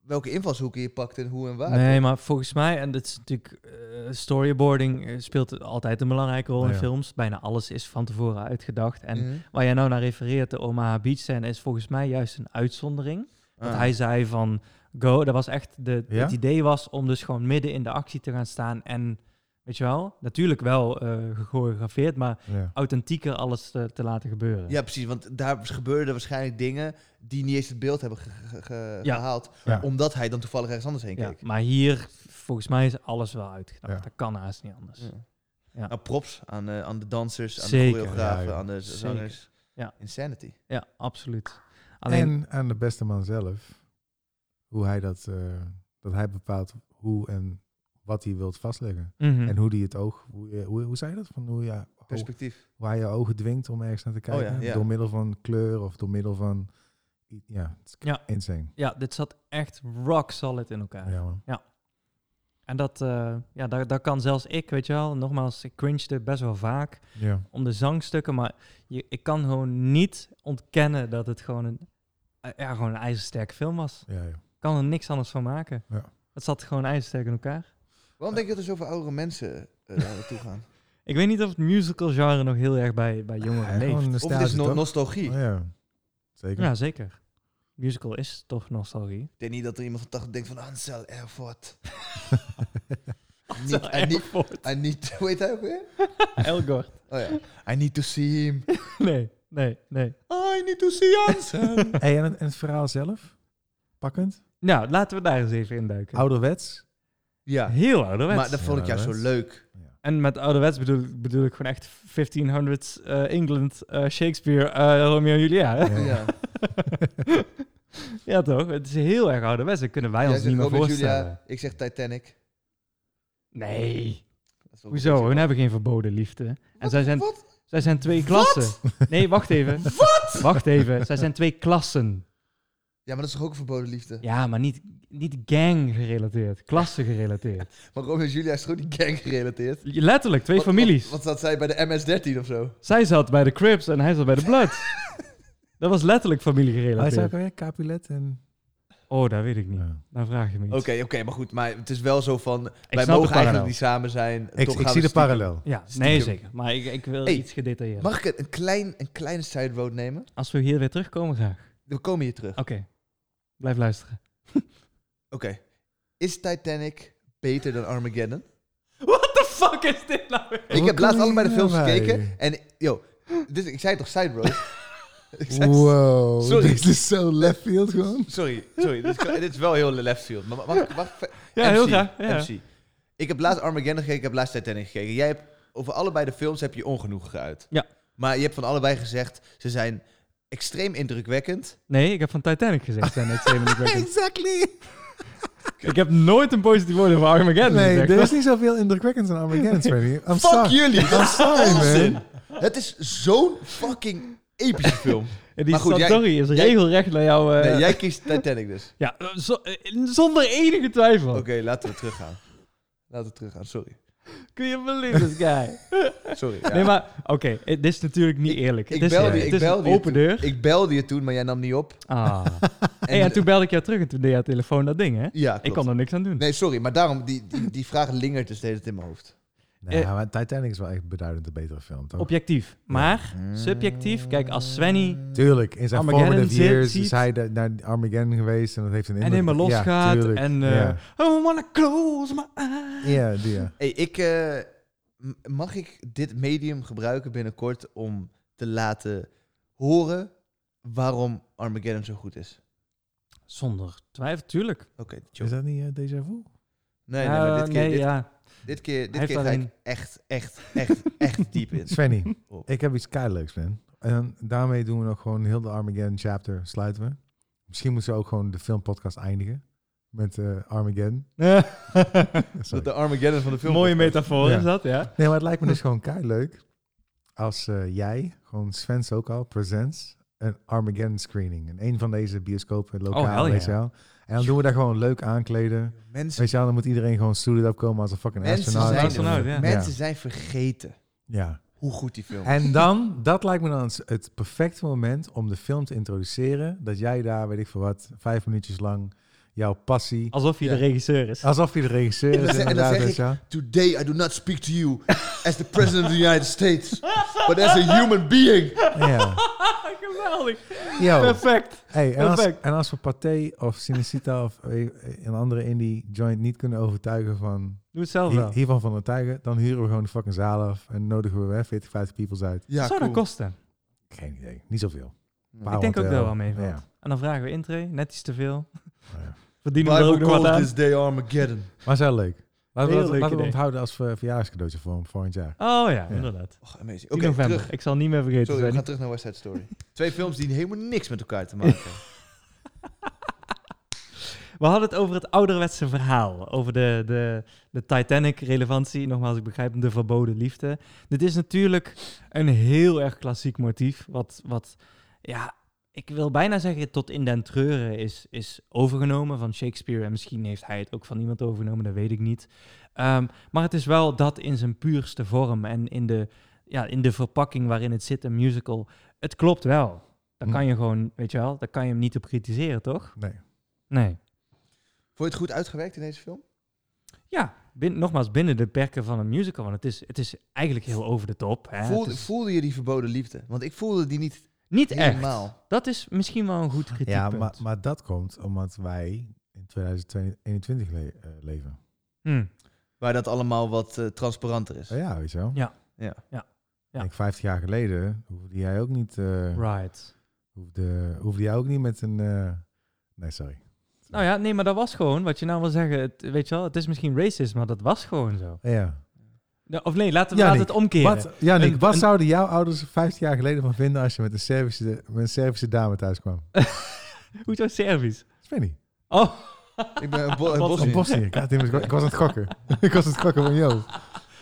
Speaker 3: welke invalshoeken je pakt en hoe en waar.
Speaker 2: Nee, maar volgens mij, en dat is natuurlijk, eh, storyboarding eh, speelt altijd een belangrijke rol
Speaker 1: Ja,
Speaker 2: in
Speaker 1: ja.
Speaker 2: films. Bijna alles is van tevoren uitgedacht. En
Speaker 3: Mhm.
Speaker 2: waar jij nou naar refereert, de Omaha Beach scène, is volgens mij juist een uitzondering. Want
Speaker 3: Ah.
Speaker 2: hij zei van go, dat was echt de,
Speaker 1: Ja?
Speaker 2: het idee was om dus gewoon midden in de actie te gaan staan en weet je wel, natuurlijk wel eh gechoreografeerd, maar
Speaker 1: Ja.
Speaker 2: authentieker alles eh, te laten gebeuren.
Speaker 3: Ja, precies. Want daar gebeurden waarschijnlijk dingen die niet eens het beeld hebben ge- ge- ge-
Speaker 2: Ja.
Speaker 3: gehaald.
Speaker 1: Ja.
Speaker 3: Omdat hij dan toevallig ergens anders heen
Speaker 2: Ja,
Speaker 3: keek.
Speaker 2: maar hier volgens mij is alles wel uitgedacht.
Speaker 1: Ja.
Speaker 2: Dat kan haast niet anders.
Speaker 3: Ja.
Speaker 2: Ja.
Speaker 3: Nou, props aan, eh, aan de dansers, aan
Speaker 2: Zeker.
Speaker 3: de choreografen,
Speaker 1: Ja, joh.
Speaker 3: aan de
Speaker 2: Zeker.
Speaker 3: zangers.
Speaker 2: Ja.
Speaker 3: Insanity.
Speaker 2: Ja, absoluut. Alleen
Speaker 1: En aan de beste man zelf, hoe hij dat, eh, dat hij bepaalt hoe en wat hij wilt vastleggen.
Speaker 2: Mhm.
Speaker 1: En hoe die het oog, hoe, je- hoe, hoe zei je dat? Van hoe, ja,
Speaker 3: Perspectief.
Speaker 1: waar je ogen dwingt om ergens naar te kijken.
Speaker 3: Oh ja, ja.
Speaker 1: Door middel van kleur of door middel van... i- Ja, het is
Speaker 2: Ja.
Speaker 1: insane.
Speaker 2: ja, dit zat echt rock solid in elkaar.
Speaker 1: Ja, man.
Speaker 2: En dat, eh, ja, daar, daar kan zelfs ik, weet je wel, nogmaals, ik cringede best wel vaak.
Speaker 1: Ja.
Speaker 2: om de zangstukken, maar je, ik kan gewoon niet ontkennen dat het gewoon een, eh, ja, gewoon een ijzersterk film was.
Speaker 1: Ja, joh.
Speaker 2: Ik kan er niks anders van maken.
Speaker 1: Ja.
Speaker 2: Het zat gewoon ijzersterk in elkaar.
Speaker 3: Waarom denk je dat er zoveel oudere mensen eh, daar naartoe gaan?
Speaker 2: Ik weet niet of het musical genre nog heel erg bij, bij jongeren
Speaker 1: Ja, gewoon
Speaker 2: leeft.
Speaker 3: Of het is
Speaker 1: nostalgie,
Speaker 3: no-
Speaker 1: toch?
Speaker 3: nostalgie.
Speaker 1: Oh, ja, zeker.
Speaker 2: Ja, zeker. Musical is toch nostalgie.
Speaker 3: Ik denk niet dat er iemand van 80 denkt van "Ah, Ansel Erfurt.
Speaker 2: Zo,
Speaker 3: niet, I, need,
Speaker 2: Erfurt.
Speaker 3: I need... Hoe heet hij ook weer?
Speaker 2: Elgort.
Speaker 3: Oh ja. I need to see him.
Speaker 2: Nee, nee, nee.
Speaker 3: I need to see Ansel.
Speaker 1: Hey, en, het, en het verhaal zelf? Pakkend?
Speaker 2: Nou, laten we daar eens even induduiken.
Speaker 1: Ouderwets?
Speaker 3: ja.
Speaker 2: Heel ouderwets.
Speaker 3: Maar dat vond ik juist zo
Speaker 1: Ouderwets.
Speaker 3: leuk.
Speaker 2: En met ouderwets bedoel, bedoel ik gewoon echt 1500s eh, England, eh, Shakespeare, eh, Romeo en Julia. hè?
Speaker 1: Ja.
Speaker 3: Ja.
Speaker 2: Ja, toch? Het is heel erg ouderwets. Dat kunnen wij
Speaker 3: Jij
Speaker 2: ons
Speaker 3: zegt
Speaker 2: niet meer
Speaker 3: Romeo en
Speaker 2: voorstellen.
Speaker 3: Julia, ik zeg Titanic.
Speaker 2: Nee.
Speaker 3: Oh, Dat is wel goed.
Speaker 2: Hoezo? Hun hebben geen verboden liefde. en zij zijn,
Speaker 3: Wat?
Speaker 2: zij zijn twee klassen. Nee, wacht even. Wat? Wacht even. Zij zijn twee klassen.
Speaker 3: Ja, maar dat is toch ook een verboden liefde?
Speaker 2: Ja, maar niet, niet gang gerelateerd. Klassen gerelateerd.
Speaker 3: Maar Romeo en Julia is gewoon die gang gerelateerd.
Speaker 2: Letterlijk, twee
Speaker 3: Wat-
Speaker 2: families.
Speaker 3: Wat, wat zat zij bij de MS-13 of zo?
Speaker 2: Zij zat bij de Crips en hij zat bij de Bloods. Dat was letterlijk familie
Speaker 1: Hij zei ook
Speaker 2: gerelateerd.
Speaker 1: alweer Capulet en...
Speaker 2: Oh, dat weet ik niet.
Speaker 1: Ja.
Speaker 2: Dan vraag je me iets.
Speaker 3: Oké, oké, maar goed. Maar het is wel zo van... wij
Speaker 2: snap de
Speaker 3: mogen eigenlijk
Speaker 2: parallel.
Speaker 3: niet samen zijn.
Speaker 1: Ik,
Speaker 3: toch
Speaker 1: ik
Speaker 3: gaan
Speaker 1: zie de
Speaker 3: we stiekem-
Speaker 1: parallel.
Speaker 2: Ja, nee
Speaker 3: Stiekem.
Speaker 2: zeker. Maar ik, ik wil
Speaker 3: Hey,
Speaker 2: iets gedetailleerder.
Speaker 3: Mag ik een- een, klein, een kleine side road nemen?
Speaker 2: Als we hier weer terugkomen, graag.
Speaker 3: We komen hier terug.
Speaker 2: Oké. Blijf luisteren.
Speaker 3: Oké. Is Titanic beter dan Armageddon?
Speaker 2: What the fuck is dit nou weer?
Speaker 3: ik
Speaker 1: Hoe
Speaker 3: heb laatst
Speaker 1: kom je
Speaker 3: allebei de films
Speaker 1: hierbij?
Speaker 3: gekeken. En, yo, dit, ik zei toch side road? Ik zei-
Speaker 1: Wow,
Speaker 3: Sorry.
Speaker 1: dit is zo left field gewoon.
Speaker 3: Sorry, sorry. dit, is, dit is wel heel left field. Maar mag, mag, ik- mag ik ver-
Speaker 2: Ja,
Speaker 3: MC,
Speaker 2: heel graag. Ja.
Speaker 3: MC. Ik heb laatst Armageddon gekeken, ik heb laatst Titanic gekeken. Jij hebt over allebei de films heb je ongenoegen geuit.
Speaker 2: Ja.
Speaker 3: Maar je hebt van allebei gezegd, ze zijn extreem indrukwekkend.
Speaker 2: Nee, ik heb van Titanic gezegd. zijn extreem indrukwekkend.
Speaker 1: Exactly.
Speaker 2: ik heb nooit een positief woord over Armageddon
Speaker 1: Nee,
Speaker 2: gezegd.
Speaker 1: er is niet zoveel indrukwekkend aan Armageddon, Freddy. I'm
Speaker 3: Fuck
Speaker 1: sorry.
Speaker 3: jullie!
Speaker 1: I'm sorry,
Speaker 3: Onzin!
Speaker 1: man.
Speaker 3: Het is zo'n fucking epische film.
Speaker 2: En die
Speaker 3: Maar goed, jij-
Speaker 2: Santori is
Speaker 3: jij-
Speaker 2: regelrecht naar jou... eh,
Speaker 3: Nee, jij kiest Titanic dus.
Speaker 2: Ja, zo- eh, zonder enige twijfel.
Speaker 3: Oké, laten we teruggaan. Laten we teruggaan, sorry.
Speaker 2: Kun je believe this guy?
Speaker 3: Sorry. ja.
Speaker 2: Nee, maar oké, eh, dit is natuurlijk niet eerlijk.
Speaker 3: ik
Speaker 2: het is,
Speaker 3: belde-
Speaker 2: het
Speaker 3: ik
Speaker 2: is
Speaker 3: belde
Speaker 2: een
Speaker 3: je
Speaker 2: open deur.
Speaker 3: Ik belde je toen, maar jij nam niet op.
Speaker 2: Ah. hey, en toen belde ik jou terug en toen deed jouw telefoon dat ding, hè?
Speaker 3: Ja, eh, klopt.
Speaker 2: Ik kon er niks aan doen.
Speaker 3: Nee, sorry, maar daarom, die, die, die vraag lingert dus de hele tijd in mijn hoofd.
Speaker 1: Nee, maar Titanic is wel echt beduidend een betere film, toch?
Speaker 2: Objectief. Maar, subjectief, kijk, als Svenny
Speaker 1: Tuurlijk, in zijn
Speaker 2: Armageddon
Speaker 1: formative
Speaker 2: zit-
Speaker 1: years
Speaker 2: ziet-
Speaker 1: is hij da- naar Armageddon geweest en dat heeft een
Speaker 2: en
Speaker 1: indruk.
Speaker 2: helemaal
Speaker 1: Ja,
Speaker 2: losgaat
Speaker 1: tuurlijk.
Speaker 2: en... eh
Speaker 1: ja.
Speaker 3: Oh,
Speaker 2: I wanna close my eyes.
Speaker 1: ja, die, ja.
Speaker 3: Hey, ik, eh, m- mag ik dit medium gebruiken binnenkort om te laten horen waarom Armageddon zo goed is?
Speaker 2: Zonder twijfel, tuurlijk.
Speaker 3: Oké, chill.
Speaker 1: Is dat niet eh, déjà vu?
Speaker 3: Nee, nee, maar dit
Speaker 2: Eh,
Speaker 3: keer, dit,
Speaker 2: ja.
Speaker 3: dit keer, dit
Speaker 2: heeft
Speaker 3: keer ga ik
Speaker 2: alleen-
Speaker 3: echt, echt, echt, echt diep in.
Speaker 1: Svenny,
Speaker 3: Oh.
Speaker 1: ik heb iets keileuks, man. En daarmee doen we nog gewoon heel de Armageddon chapter sluiten we. Misschien moeten we ook gewoon de filmpodcast eindigen met eh, Armageddon.
Speaker 3: Dat
Speaker 1: Sorry.
Speaker 3: de Armageddon van de film.
Speaker 2: Mooie metafoor
Speaker 1: Ja.
Speaker 2: is dat, ja.
Speaker 1: Nee, maar het lijkt me dus gewoon leuk als eh, jij, gewoon Sven Sokal, presents een Armageddon screening. In een van deze bioscopen, lokaal,
Speaker 2: Oh, hell
Speaker 1: weet je
Speaker 2: yeah.
Speaker 1: wel. En dan doen we daar gewoon leuk aankleden.
Speaker 3: Mensen,
Speaker 1: Weet je wel, dan moet iedereen gewoon suited up komen als een fucking
Speaker 3: Mensen
Speaker 1: astronaut.
Speaker 3: zijn
Speaker 2: Astronaut, ja.
Speaker 3: mensen zijn vergeten
Speaker 1: Ja.
Speaker 3: hoe goed die film is.
Speaker 1: En dan, dat lijkt me dan het- het perfecte moment om de film te introduceren. Dat jij daar, weet ik veel wat, vijf minuutjes lang jouw passie.
Speaker 2: Alsof je
Speaker 3: Ja.
Speaker 2: de regisseur is.
Speaker 1: Alsof je de regisseur
Speaker 3: En dat
Speaker 1: is,
Speaker 3: zeg- en dat
Speaker 1: inderdaad.
Speaker 3: zeg
Speaker 1: weet je wel.
Speaker 3: Today I do not speak to you as the president of the United States, but as a human being.
Speaker 1: Ja.
Speaker 2: Ah, Geweldig.
Speaker 1: Yo.
Speaker 2: Perfect.
Speaker 1: Hey, en, als,
Speaker 2: Perfect.
Speaker 1: en als we Pathé of Cinecita of eh, een andere indie joint niet kunnen overtuigen van
Speaker 2: Doe het zelf
Speaker 1: hier-
Speaker 2: wel.
Speaker 1: hiervan van overtuigen, dan huren we gewoon de fucking zaal af en nodigen we eh, 40, 50 peoples uit.
Speaker 3: Ja,
Speaker 2: Zou dat
Speaker 3: cool.
Speaker 2: kosten?
Speaker 1: Geen idee, niet zoveel.
Speaker 2: Ik denk ook dat wel mee
Speaker 1: Ja.
Speaker 2: En dan vragen we intree, net iets te veel.
Speaker 3: Oh,
Speaker 1: Ja.
Speaker 2: Verdienen we er ook
Speaker 3: Bible
Speaker 2: nog wat
Speaker 3: calls
Speaker 2: aan.
Speaker 3: this day Armageddon.
Speaker 1: Maar is wel leuk. Laten we,
Speaker 2: Heel
Speaker 1: dat-
Speaker 2: leuk
Speaker 1: laten we
Speaker 2: idee.
Speaker 1: onthouden als ver- verjaardagscadeautje voor hem volgend jaar.
Speaker 2: Oh ja,
Speaker 1: Ja.
Speaker 2: inderdaad.
Speaker 3: Och, amazing.
Speaker 2: 10
Speaker 3: Oké,
Speaker 2: november.
Speaker 3: terug.
Speaker 2: Ik zal niet meer vergeten
Speaker 3: Sorry, we
Speaker 2: zijn.
Speaker 3: gaan terug naar West Side Story. Twee films die helemaal niks met elkaar te maken hebben.
Speaker 2: We hadden het over het ouderwetse verhaal. Over de, de, de Titanic-relevantie. Nogmaals, ik begrijp hem, de verboden liefde. Dit is natuurlijk een heel erg klassiek motief. Wat, wat ja, ik wil bijna zeggen tot in den treuren is, is overgenomen van Shakespeare. En misschien heeft hij het ook van iemand overgenomen, dat weet ik niet. Ehm, maar het is wel dat in zijn puurste vorm. En in de, ja, in de verpakking waarin het zit, een musical. Het klopt wel. Daar
Speaker 1: Hm.
Speaker 2: kan je gewoon, weet je wel, daar kan je hem niet op kritiseren, toch?
Speaker 1: Nee.
Speaker 2: Nee.
Speaker 3: Vond je het goed uitgewerkt in deze film?
Speaker 2: Ja, bin- nogmaals, binnen de perken van een musical. Want het is, het is eigenlijk heel over de top. Hè?
Speaker 3: voelde,
Speaker 2: Het is
Speaker 3: voelde je die verboden liefde? Want ik voelde die niet
Speaker 2: niet
Speaker 3: helemaal.
Speaker 2: echt. Dat is misschien wel een goed
Speaker 1: Ja,
Speaker 2: kritiekpunt.
Speaker 1: maar, maar dat komt omdat wij in 2021 le- eh, leven.
Speaker 2: Hm.
Speaker 3: Waar dat allemaal wat eh, transparanter is.
Speaker 1: Oh ja, weet je wel.
Speaker 2: Ja.
Speaker 3: Ja.
Speaker 2: Ja. Ja.
Speaker 1: Ik denk 50 jaar geleden hoefde jij ook niet, eh,
Speaker 2: Right.
Speaker 1: hoefde, hoefde jij ook niet met een... eh, nee, sorry.
Speaker 2: Nou ja, nee, maar dat was gewoon wat je nou wil zeggen. Het, weet je wel, het is misschien racist, maar dat was gewoon zo.
Speaker 1: Ja.
Speaker 2: Ja, Of nee, laten we
Speaker 1: Ja,
Speaker 2: laten
Speaker 1: Nick.
Speaker 2: het omkeren.
Speaker 1: Wat, Janik,
Speaker 2: Een-
Speaker 1: wat
Speaker 2: een-
Speaker 1: zouden jouw ouders 15 jaar geleden van vinden als je met een Servische, met een Servische dame thuis kwam?
Speaker 2: Hoezo Servisch?
Speaker 1: Ik weet niet.
Speaker 2: Oh,
Speaker 3: Ik ben een bo- een
Speaker 2: Wat
Speaker 1: Of een
Speaker 3: Bosnier.
Speaker 1: Bosnië. Ik, had het immers- ik was aan het gokken. ik was aan het gokken van jou.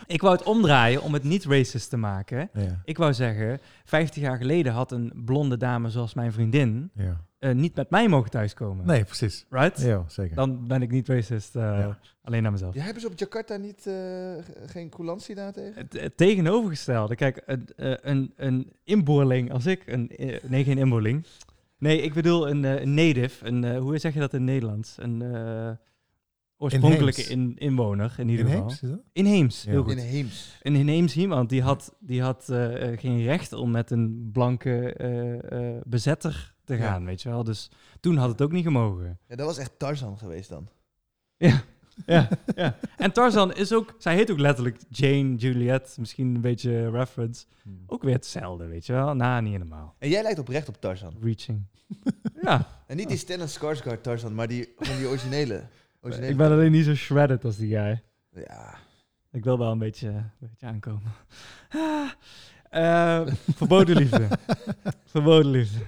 Speaker 2: ik wou het omdraaien om het niet racist te maken.
Speaker 1: Ja.
Speaker 2: Ik wou zeggen, 50 jaar geleden had een blonde dame zoals mijn vriendin
Speaker 1: ja.
Speaker 2: eh, niet met mij mogen thuiskomen.
Speaker 1: Nee, precies.
Speaker 2: Right?
Speaker 1: Ja, zeker.
Speaker 2: Dan ben ik niet racist, eh,
Speaker 1: Ja.
Speaker 2: alleen naar mezelf.
Speaker 3: Ja, hebben ze op Jakarta niet eh, ge- geen coulantie daartegen?
Speaker 2: Het, het tegenovergestelde. Kijk, een, eh, een, een inboorling als ik. Een, eh, nee, geen inboorling. Nee, ik bedoel een, eh, een native. Een, eh, hoe zeg je dat in Nederlands? Een eh, oorspronkelijke in, inwoner in ieder geval.
Speaker 1: Inheems, is dat?
Speaker 2: Inheems,
Speaker 1: Ja.
Speaker 2: heel
Speaker 3: In
Speaker 2: goed.
Speaker 3: Heems.
Speaker 2: Een inheems iemand die had, die had eh, eh, geen recht om met een blanke eh, eh, bezetter te
Speaker 3: Ja.
Speaker 2: gaan, weet je wel. Dus toen had het ook niet gemogen.
Speaker 3: Ja, dat was echt Tarzan geweest dan.
Speaker 2: Ja, ja, ja. En Tarzan is ook, zij heet ook letterlijk Jane, Juliet, misschien een beetje reference. Ook weer hetzelfde, weet je wel? Nou, niet helemaal.
Speaker 3: En jij lijkt oprecht op Tarzan.
Speaker 2: Reaching. ja,
Speaker 3: En niet die Stellan Skarsgård Tarzan, maar die, gewoon die originele. originele
Speaker 2: Ah. ik ben alleen niet zo shredded als die guy.
Speaker 3: Ja.
Speaker 2: Ik wil wel een beetje, een beetje aankomen. Ah. Eh, verboden liefde. verboden liefde.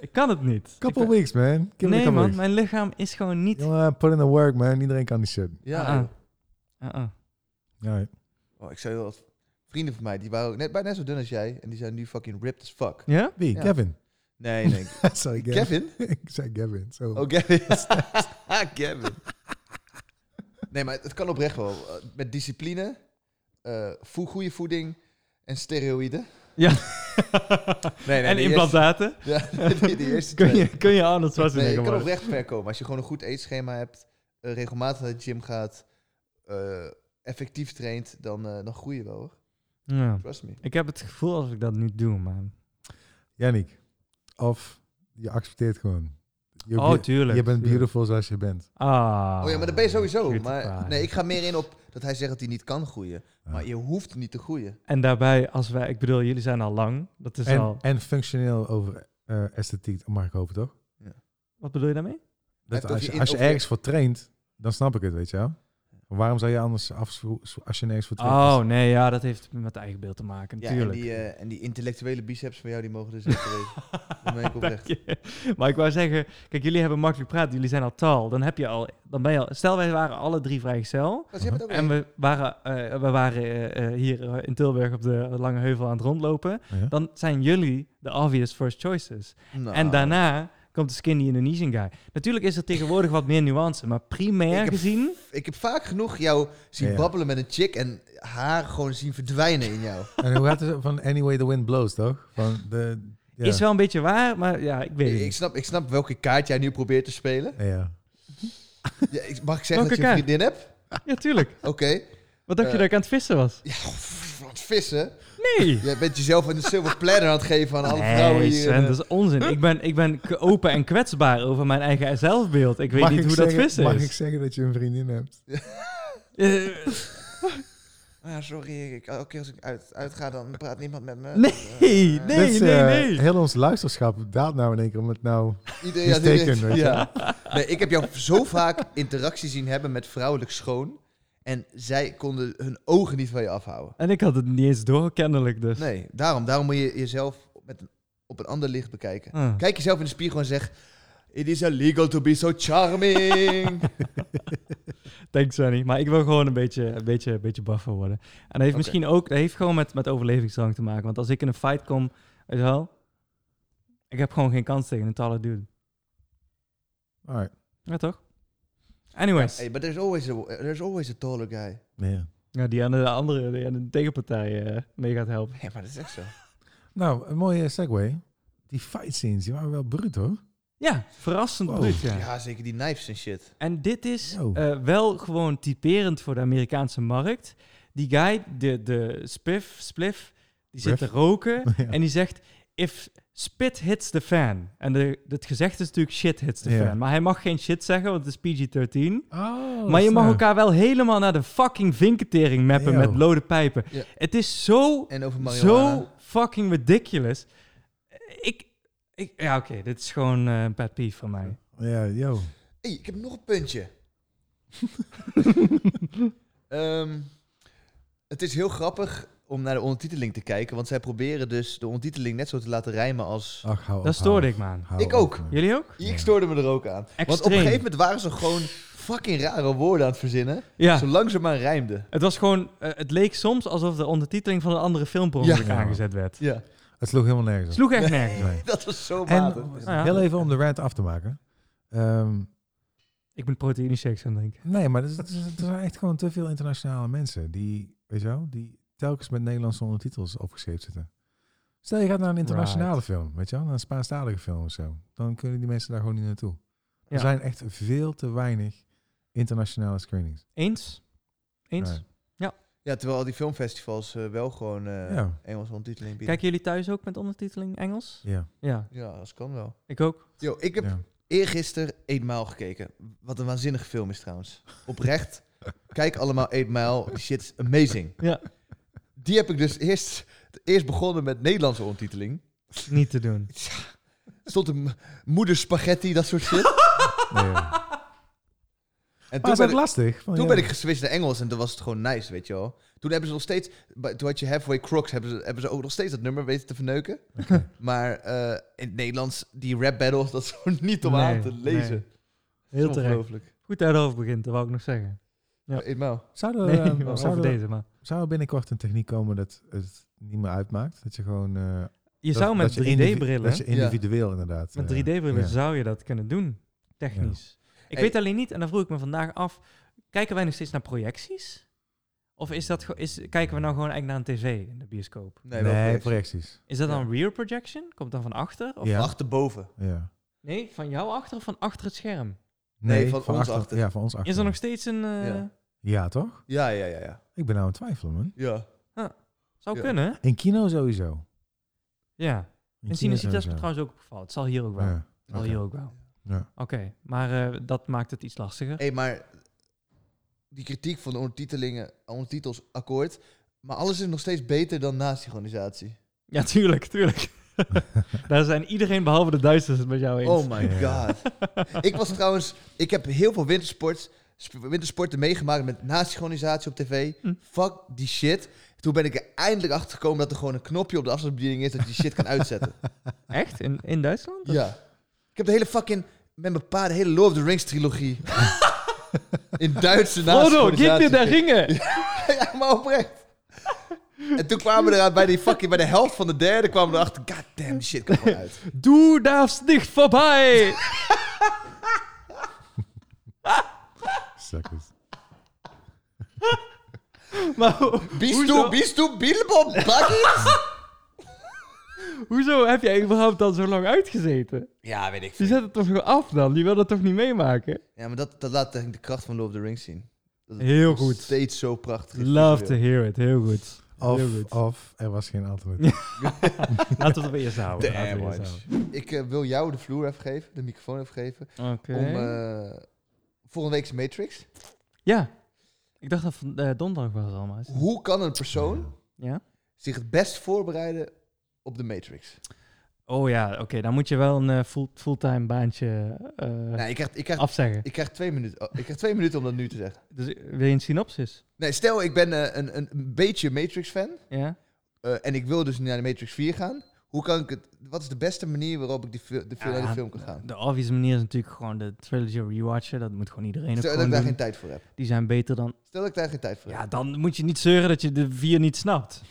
Speaker 2: Ik kan het niet.
Speaker 1: Couple
Speaker 2: Ik- eh,
Speaker 1: weeks, man. Give me a
Speaker 2: nee
Speaker 1: couple
Speaker 2: man,
Speaker 1: weeks.
Speaker 2: mijn lichaam is gewoon niet...
Speaker 1: Jongen, put in the work, man. Iedereen kan die shit.
Speaker 3: ja
Speaker 2: Ah,
Speaker 3: joh.
Speaker 2: ah. Ah, ah.
Speaker 1: Ja,
Speaker 3: Oh, ik zei wel, vrienden van mij, die waren ook net, bijna zo dun als jij. En die zijn nu fucking ripped as fuck.
Speaker 2: Ja?
Speaker 1: Wie?
Speaker 3: Ja.
Speaker 1: Kevin.
Speaker 3: Nee, nee.
Speaker 1: Sorry, Kevin.
Speaker 3: Kevin?
Speaker 1: ik zei Kevin. Zo.
Speaker 3: Oh, Kevin. Kevin. Nee, maar het kan oprecht wel. Eh, Met discipline, eh, voe- goede voeding en steroïden.
Speaker 2: Ja.
Speaker 3: Nee, nee,
Speaker 2: en
Speaker 3: die
Speaker 2: implantaten?
Speaker 3: eerste- Ja, die, die eerste
Speaker 2: Kun
Speaker 3: twee.
Speaker 2: je, kun je Arnold
Speaker 3: Nee, je
Speaker 2: Schwarzenegger
Speaker 3: kan
Speaker 2: worden?
Speaker 3: oprecht ver komen. Als je gewoon een goed eetschema hebt, eh, regelmatig naar de gym gaat, eh, effectief traint, dan, eh, dan groei je wel hoor.
Speaker 2: Ja.
Speaker 3: Trust me.
Speaker 2: Ik heb het gevoel als ik dat niet doe, man.
Speaker 1: Yannick. Of je accepteert gewoon. Je,
Speaker 2: Oh, tuurlijk.
Speaker 1: je bent
Speaker 2: tuurlijk.
Speaker 1: beautiful zoals je bent.
Speaker 2: Ah.
Speaker 3: Oh ja, maar dat ben je sowieso.
Speaker 2: cutie
Speaker 3: Maar
Speaker 2: pie.
Speaker 3: nee, ik ga meer in op dat hij zegt dat hij niet kan groeien.
Speaker 1: Ja.
Speaker 3: Maar je hoeft niet te groeien.
Speaker 2: En daarbij, als wij, ik bedoel, jullie zijn al lang. Dat is
Speaker 1: En,
Speaker 2: al.
Speaker 1: en functioneel over eh, esthetiek, mag ik hopen toch?
Speaker 2: Wat bedoel je daarmee?
Speaker 1: Dat
Speaker 3: heeft
Speaker 1: als
Speaker 3: ook
Speaker 1: je,
Speaker 3: je-
Speaker 1: als je
Speaker 3: ook je-
Speaker 1: ergens voor traint, dan snap ik het, weet je wel. Maar waarom zou je anders afswo- als je ineens voor terug
Speaker 2: Oh,
Speaker 1: is?
Speaker 2: nee, ja, dat heeft met eigen beeld te maken,
Speaker 3: Ja, en
Speaker 2: natuurlijk.
Speaker 3: die, eh, en die intellectuele biceps van jou, die mogen dus echt weten. Dan ben ik oprecht.
Speaker 2: Dank je. Maar ik wou zeggen, kijk, jullie hebben makkelijk praten, jullie zijn al taal. Dan heb je al, dan ben je al. Stel, wij waren alle drie vrijgezel.
Speaker 3: Maar ze hebben het ook
Speaker 2: En
Speaker 3: één.
Speaker 2: we waren, eh, we waren eh, eh, hier eh, in Tilburg op de Lange Heuvel aan het rondlopen.
Speaker 1: Dus, Ja?
Speaker 2: Dan zijn jullie de obvious first choices.
Speaker 3: Nou,
Speaker 2: En daarna komt de skinny Indonesian guy. Natuurlijk is er tegenwoordig wat meer nuance, maar primair
Speaker 3: Ik heb-
Speaker 2: gezien...
Speaker 3: Ik heb vaak genoeg jou zien
Speaker 1: Ja.
Speaker 3: babbelen met een chick en haar gewoon zien verdwijnen in jou.
Speaker 1: En hoe gaat het van Anyway the Wind Blows, toch? Van de, ja.
Speaker 2: Is wel een beetje waar, maar ja, ik weet
Speaker 3: Ik,
Speaker 2: het
Speaker 3: ik,
Speaker 2: niet.
Speaker 3: snap, ik snap welke kaart jij nu probeert te spelen.
Speaker 1: Ja.
Speaker 3: Ja, ik- mag ik zeggen
Speaker 2: Welke
Speaker 3: dat je
Speaker 2: kaart?
Speaker 3: een vriendin hebt?
Speaker 2: Ja, tuurlijk.
Speaker 3: Oké.
Speaker 2: Wat dacht je
Speaker 3: Eh.
Speaker 2: dat ik aan het vissen was?
Speaker 3: Ja, pff, wat vissen.
Speaker 2: Nee!
Speaker 3: Jij bent jezelf een silver planner aan het geven aan alle vrouwen
Speaker 2: Nee,
Speaker 3: hier. eh.
Speaker 2: Sven, dat is onzin. Ik ben, ik ben k- open en kwetsbaar over mijn eigen zelfbeeld. Ik weet
Speaker 1: Mag
Speaker 2: niet
Speaker 1: ik
Speaker 2: hoe
Speaker 1: zeggen,
Speaker 2: dat vissen
Speaker 1: Mag
Speaker 2: is.
Speaker 1: ik zeggen dat je een vriendin hebt?
Speaker 2: Eh,
Speaker 3: Ah, sorry, ik, elke keer als ik uit, uitga, dan praat niemand met me.
Speaker 2: nee,
Speaker 3: Eh,
Speaker 2: nee,
Speaker 1: Dit is,
Speaker 2: nee,
Speaker 1: eh,
Speaker 2: nee.
Speaker 1: Heel ons luisterschap daalt nou in één keer om het nou...
Speaker 3: Iedereen had
Speaker 1: Mistaken,
Speaker 3: dit-
Speaker 1: weet je.
Speaker 3: ja. nee, ik heb jou zo vaak interactie zien hebben met vrouwelijk schoon. En zij konden hun ogen niet van je afhouden.
Speaker 2: En ik had het niet eens door, kennelijk dus.
Speaker 3: Nee, daarom, daarom moet je jezelf met een, op een ander licht bekijken.
Speaker 2: Ah.
Speaker 3: Kijk jezelf in de spiegel en zeg... It is illegal to be so charming.
Speaker 2: Thanks, Sunny. Maar ik wil gewoon een beetje, een beetje, een beetje buffer worden. En dat heeft
Speaker 3: Oké.
Speaker 2: misschien ook dat heeft gewoon met, met overlevingsdrang te maken. Want als ik in een fight kom, weet je wel, ik heb gewoon geen kans tegen een talle dude.
Speaker 1: Alright.
Speaker 2: Ja, toch? Anyways. Ja,
Speaker 3: hey, but there's always, a, there's always a taller guy.
Speaker 1: Ja.
Speaker 2: die aan de andere, die aan de tegenpartij eh, mee gaat helpen.
Speaker 3: Ja, maar dat is echt zo.
Speaker 1: Nou, een mooie segue. Die fight scenes, die waren wel bruut, hoor.
Speaker 2: Ja, verrassend
Speaker 1: Wow.
Speaker 2: bruut, ja.
Speaker 3: Ja, zeker die knives en shit.
Speaker 2: En dit is
Speaker 1: Yo.
Speaker 2: eh, wel gewoon typerend voor de Amerikaanse markt. Die guy, de, de spiff, spliff, die zit te
Speaker 1: Spliff?
Speaker 2: roken
Speaker 1: Ja.
Speaker 2: en die zegt... If spit hits the fan. En de, het gezegd is natuurlijk shit hits the
Speaker 1: Ja.
Speaker 2: fan. Maar hij mag geen shit zeggen, want het is PG-13.
Speaker 1: Oh,
Speaker 2: maar je mag
Speaker 1: snap.
Speaker 2: elkaar wel helemaal naar de fucking vinketering mappen
Speaker 1: Yo.
Speaker 2: met lode pijpen.
Speaker 3: Ja.
Speaker 2: Het is zo,
Speaker 3: En over marijuana.
Speaker 2: zo fucking ridiculous. Ik... ik ja, oké, dit is gewoon eh, een pet peeve van mij.
Speaker 1: Ja, yo.
Speaker 3: Hé, ik heb nog een puntje. Ehm, het is heel grappig om naar de ondertiteling te kijken, want zij proberen dus de ondertiteling net zo te laten rijmen als...
Speaker 1: Ach, hou op,
Speaker 2: Daar stoorde
Speaker 1: hou
Speaker 2: ik me aan.
Speaker 1: op, hou
Speaker 3: Ik
Speaker 1: op,
Speaker 3: ook.
Speaker 1: man.
Speaker 2: Jullie ook?
Speaker 1: Oh, Ja.
Speaker 3: Ik stoorde me er ook aan. Want op een
Speaker 2: Extreem.
Speaker 3: gegeven moment waren ze gewoon fucking rare woorden aan het verzinnen,
Speaker 2: Ja,
Speaker 3: zolang ze maar rijmden.
Speaker 2: het was gewoon... eh, het leek soms alsof de ondertiteling van een andere film per
Speaker 3: Ja.
Speaker 2: ongeluk aangezet werd.
Speaker 3: Ja,
Speaker 1: Het sloeg helemaal nergens op.
Speaker 2: Sloeg echt nergens op.
Speaker 1: Nee.
Speaker 3: dat was zo matig.
Speaker 1: En
Speaker 2: Ja.
Speaker 1: heel even om de rant af te maken. Ehm,
Speaker 2: Ik ben proteïne shakes gaan drinken.
Speaker 1: nee, maar er is- er is- er zijn echt gewoon te veel internationale mensen die, weet je wel, die telkens met Nederlandse ondertitels opgeschreven zitten. Stel je gaat naar een internationale
Speaker 2: Right.
Speaker 1: film, weet je wel, naar een Spaanstalige film of zo. Dan kunnen die mensen daar gewoon niet naartoe.
Speaker 2: Ja.
Speaker 1: Er zijn echt veel te weinig internationale screenings.
Speaker 2: Eens? Eens?
Speaker 1: Right.
Speaker 3: Ja, terwijl al die filmfestivals eh, wel gewoon eh
Speaker 1: Ja.
Speaker 3: Engelse ondertiteling bieden.
Speaker 2: Kijken jullie thuis ook met ondertiteling Engels?
Speaker 1: Ja.
Speaker 2: Ja,
Speaker 3: Ja, dat kan wel.
Speaker 2: ik ook.
Speaker 3: Yo, ik heb
Speaker 1: ja.
Speaker 3: eergisteren Eetmaal gekeken. Wat een waanzinnige film is trouwens. Oprecht. Kijk allemaal Eetmaal. Die shit is amazing.
Speaker 2: Ja.
Speaker 3: Die heb ik dus eerst, eerst begonnen met Nederlandse ondertiteling.
Speaker 2: Niet te doen.
Speaker 3: Stond een m- moeder spaghetti, dat soort shit.
Speaker 1: Nee, ja.
Speaker 2: Ah,
Speaker 1: Maar
Speaker 3: En toen
Speaker 1: is dat
Speaker 3: ben, ik,
Speaker 1: lastig? Van,
Speaker 3: toen
Speaker 1: ja.
Speaker 3: ben ik geswitcht naar Engels en toen was het gewoon nice, weet je wel. Toen hebben ze nog steeds, bij- toen had je Halfway Crocs, hebben ze, hebben ze ook nog steeds dat nummer weten te verneuken. Maar eh, in het Nederlands, die rap battles, dat is gewoon niet om
Speaker 2: Nee,
Speaker 3: aan te lezen.
Speaker 2: nee. Heel terecht.
Speaker 3: Ongelooflijk.
Speaker 2: Goed uit de hoofd begint, dat wou ik nog zeggen. Ja.
Speaker 3: Eetmaal.
Speaker 1: Zouden we,
Speaker 2: Nee,
Speaker 1: ehm,
Speaker 2: over
Speaker 1: zouden we-
Speaker 2: deze, maar...
Speaker 1: zou er binnenkort een techniek komen dat het niet meer uitmaakt? Dat je gewoon... eh,
Speaker 2: Je
Speaker 1: dat-
Speaker 2: zou met
Speaker 1: dat je indivi- Dat je
Speaker 2: 3D-brillen...
Speaker 1: individueel inderdaad.
Speaker 2: Met
Speaker 1: eh,
Speaker 2: 3D-brillen
Speaker 1: ja.
Speaker 2: zou je dat kunnen doen, technisch. Ik
Speaker 3: Hey.
Speaker 2: weet alleen niet, en dan vroeg ik me vandaag af... Kijken wij nog steeds naar projecties? Of is dat, ge- is, kijken we nou gewoon eigenlijk naar een tv in de bioscoop?
Speaker 1: Nee,
Speaker 3: wel
Speaker 1: nee
Speaker 3: correct.
Speaker 1: projecties.
Speaker 2: Is dat
Speaker 3: Ja.
Speaker 2: dan rear projection? Komt dan van achter? Of
Speaker 1: Ja.
Speaker 3: Achterboven.
Speaker 1: Ja.
Speaker 2: Nee, van jou achter of van achter het scherm?
Speaker 3: Nee, van ons
Speaker 1: achter,
Speaker 3: achter.
Speaker 1: Ja, van ons achter.
Speaker 2: Is er nog steeds een... eh,
Speaker 3: Ja.
Speaker 1: Ja, toch?
Speaker 3: Ja, ja, ja, ja.
Speaker 1: Ik ben nou aan het twijfelen, man.
Speaker 3: Ja.
Speaker 2: Zou
Speaker 3: Ja.
Speaker 2: kunnen, hè?
Speaker 1: In kino sowieso.
Speaker 2: Ja.
Speaker 1: In
Speaker 2: En
Speaker 1: kino
Speaker 2: Cinecittà is me
Speaker 1: sowieso.
Speaker 2: trouwens ook opgevallen. Het zal hier ook wel.
Speaker 1: Ja.
Speaker 2: Het zal
Speaker 1: oké.
Speaker 2: hier ook wel.
Speaker 1: Ja.
Speaker 2: Oké, maar eh, dat maakt het iets lastiger.
Speaker 3: Hé, maar die kritiek van de ondertitelingen, ondertitels akkoord. Maar alles is nog steeds beter dan nasynchronisatie.
Speaker 2: Ja, tuurlijk, tuurlijk. Daar zijn iedereen behalve de Duitsers het met jou eens.
Speaker 3: Oh my
Speaker 1: Ja.
Speaker 3: god. ik was trouwens, ik heb heel veel wintersports sp- wintersporten meegemaakt met nasynchronisatie op tv.
Speaker 2: Hm.
Speaker 3: Fuck die shit. Toen ben ik er eindelijk achter gekomen dat er gewoon een knopje op de afstandsbediening is dat je die shit kan uitzetten.
Speaker 2: Echt? In, in Duitsland?
Speaker 3: ja. Ik heb de hele fucking met mijn pa de hele Lord of the Rings trilogie. In Duitse naam.
Speaker 2: Frodo, gib mir de ringen!
Speaker 3: Ja, maar oprecht. En toen kwamen we eraan bij, die fucking, bij de helft van de derde kwamen we erachter. God damn, die shit kan gewoon uit.
Speaker 2: Du darfst nicht vorbei!
Speaker 1: Suckers.
Speaker 2: Maar ho-
Speaker 3: Bistu,
Speaker 2: hoezo-
Speaker 3: bistu, Bilbo, Baggins?
Speaker 2: Hoezo heb jij überhaupt dan zo lang uitgezeten?
Speaker 3: Ja, weet ik
Speaker 2: Je
Speaker 3: veel.
Speaker 2: zet het toch weer af dan? Je wil dat toch niet meemaken?
Speaker 3: Ja, maar dat, dat laat denk ik de kracht van Lord of the Rings zien. Dat het
Speaker 2: Heel
Speaker 3: nog
Speaker 2: goed.
Speaker 3: Steeds zo prachtig. is
Speaker 2: Love to
Speaker 3: visueel.
Speaker 2: hear it. Heel goed. Heel
Speaker 1: Of,
Speaker 2: goed.
Speaker 1: of er was geen antwoord.
Speaker 2: Laten we het op eerst houden. Laten
Speaker 3: Damn,
Speaker 2: we het
Speaker 3: man.
Speaker 2: eerst houden.
Speaker 3: Ik eh, wil jou de vloer even geven, de microfoon even geven.
Speaker 2: Oké.
Speaker 3: Om, eh, volgende week is Matrix.
Speaker 2: Ja. Ik dacht dat van eh, donderdag was allemaal. is het-
Speaker 3: Hoe kan een persoon
Speaker 2: Ja?
Speaker 3: zich het best voorbereiden op de Matrix?
Speaker 2: Oh ja, oké. dan moet je wel een eh, full, fulltime baantje eh,
Speaker 3: Nou, ik, krijg, ik, krijg,
Speaker 2: afzeggen.
Speaker 3: ik, krijg twee minuten, oh, ik krijg twee minuten om dat nu te zeggen.
Speaker 2: Dus eh, wil je een synopsis?
Speaker 3: Nee, stel ik ben eh, een, een, een beetje Matrix-fan.
Speaker 2: Ja?
Speaker 3: eh, en ik wil dus naar de Matrix 4 gaan. Hoe kan ik het... Wat is de beste manier waarop ik die, fil- de, fil- naar
Speaker 2: Ja,
Speaker 3: de film kan gaan?
Speaker 2: De obvious manier is natuurlijk gewoon de trilogy rewatchen. Dat moet gewoon iedereen ook
Speaker 3: Stel dat ik
Speaker 2: gewoon
Speaker 3: daar
Speaker 2: doen.
Speaker 3: geen tijd voor heb.
Speaker 2: Die zijn beter dan...
Speaker 3: Stel dat ik daar geen tijd voor
Speaker 2: Ja,
Speaker 3: heb.
Speaker 2: dan moet je niet zeuren dat je de vier niet snapt.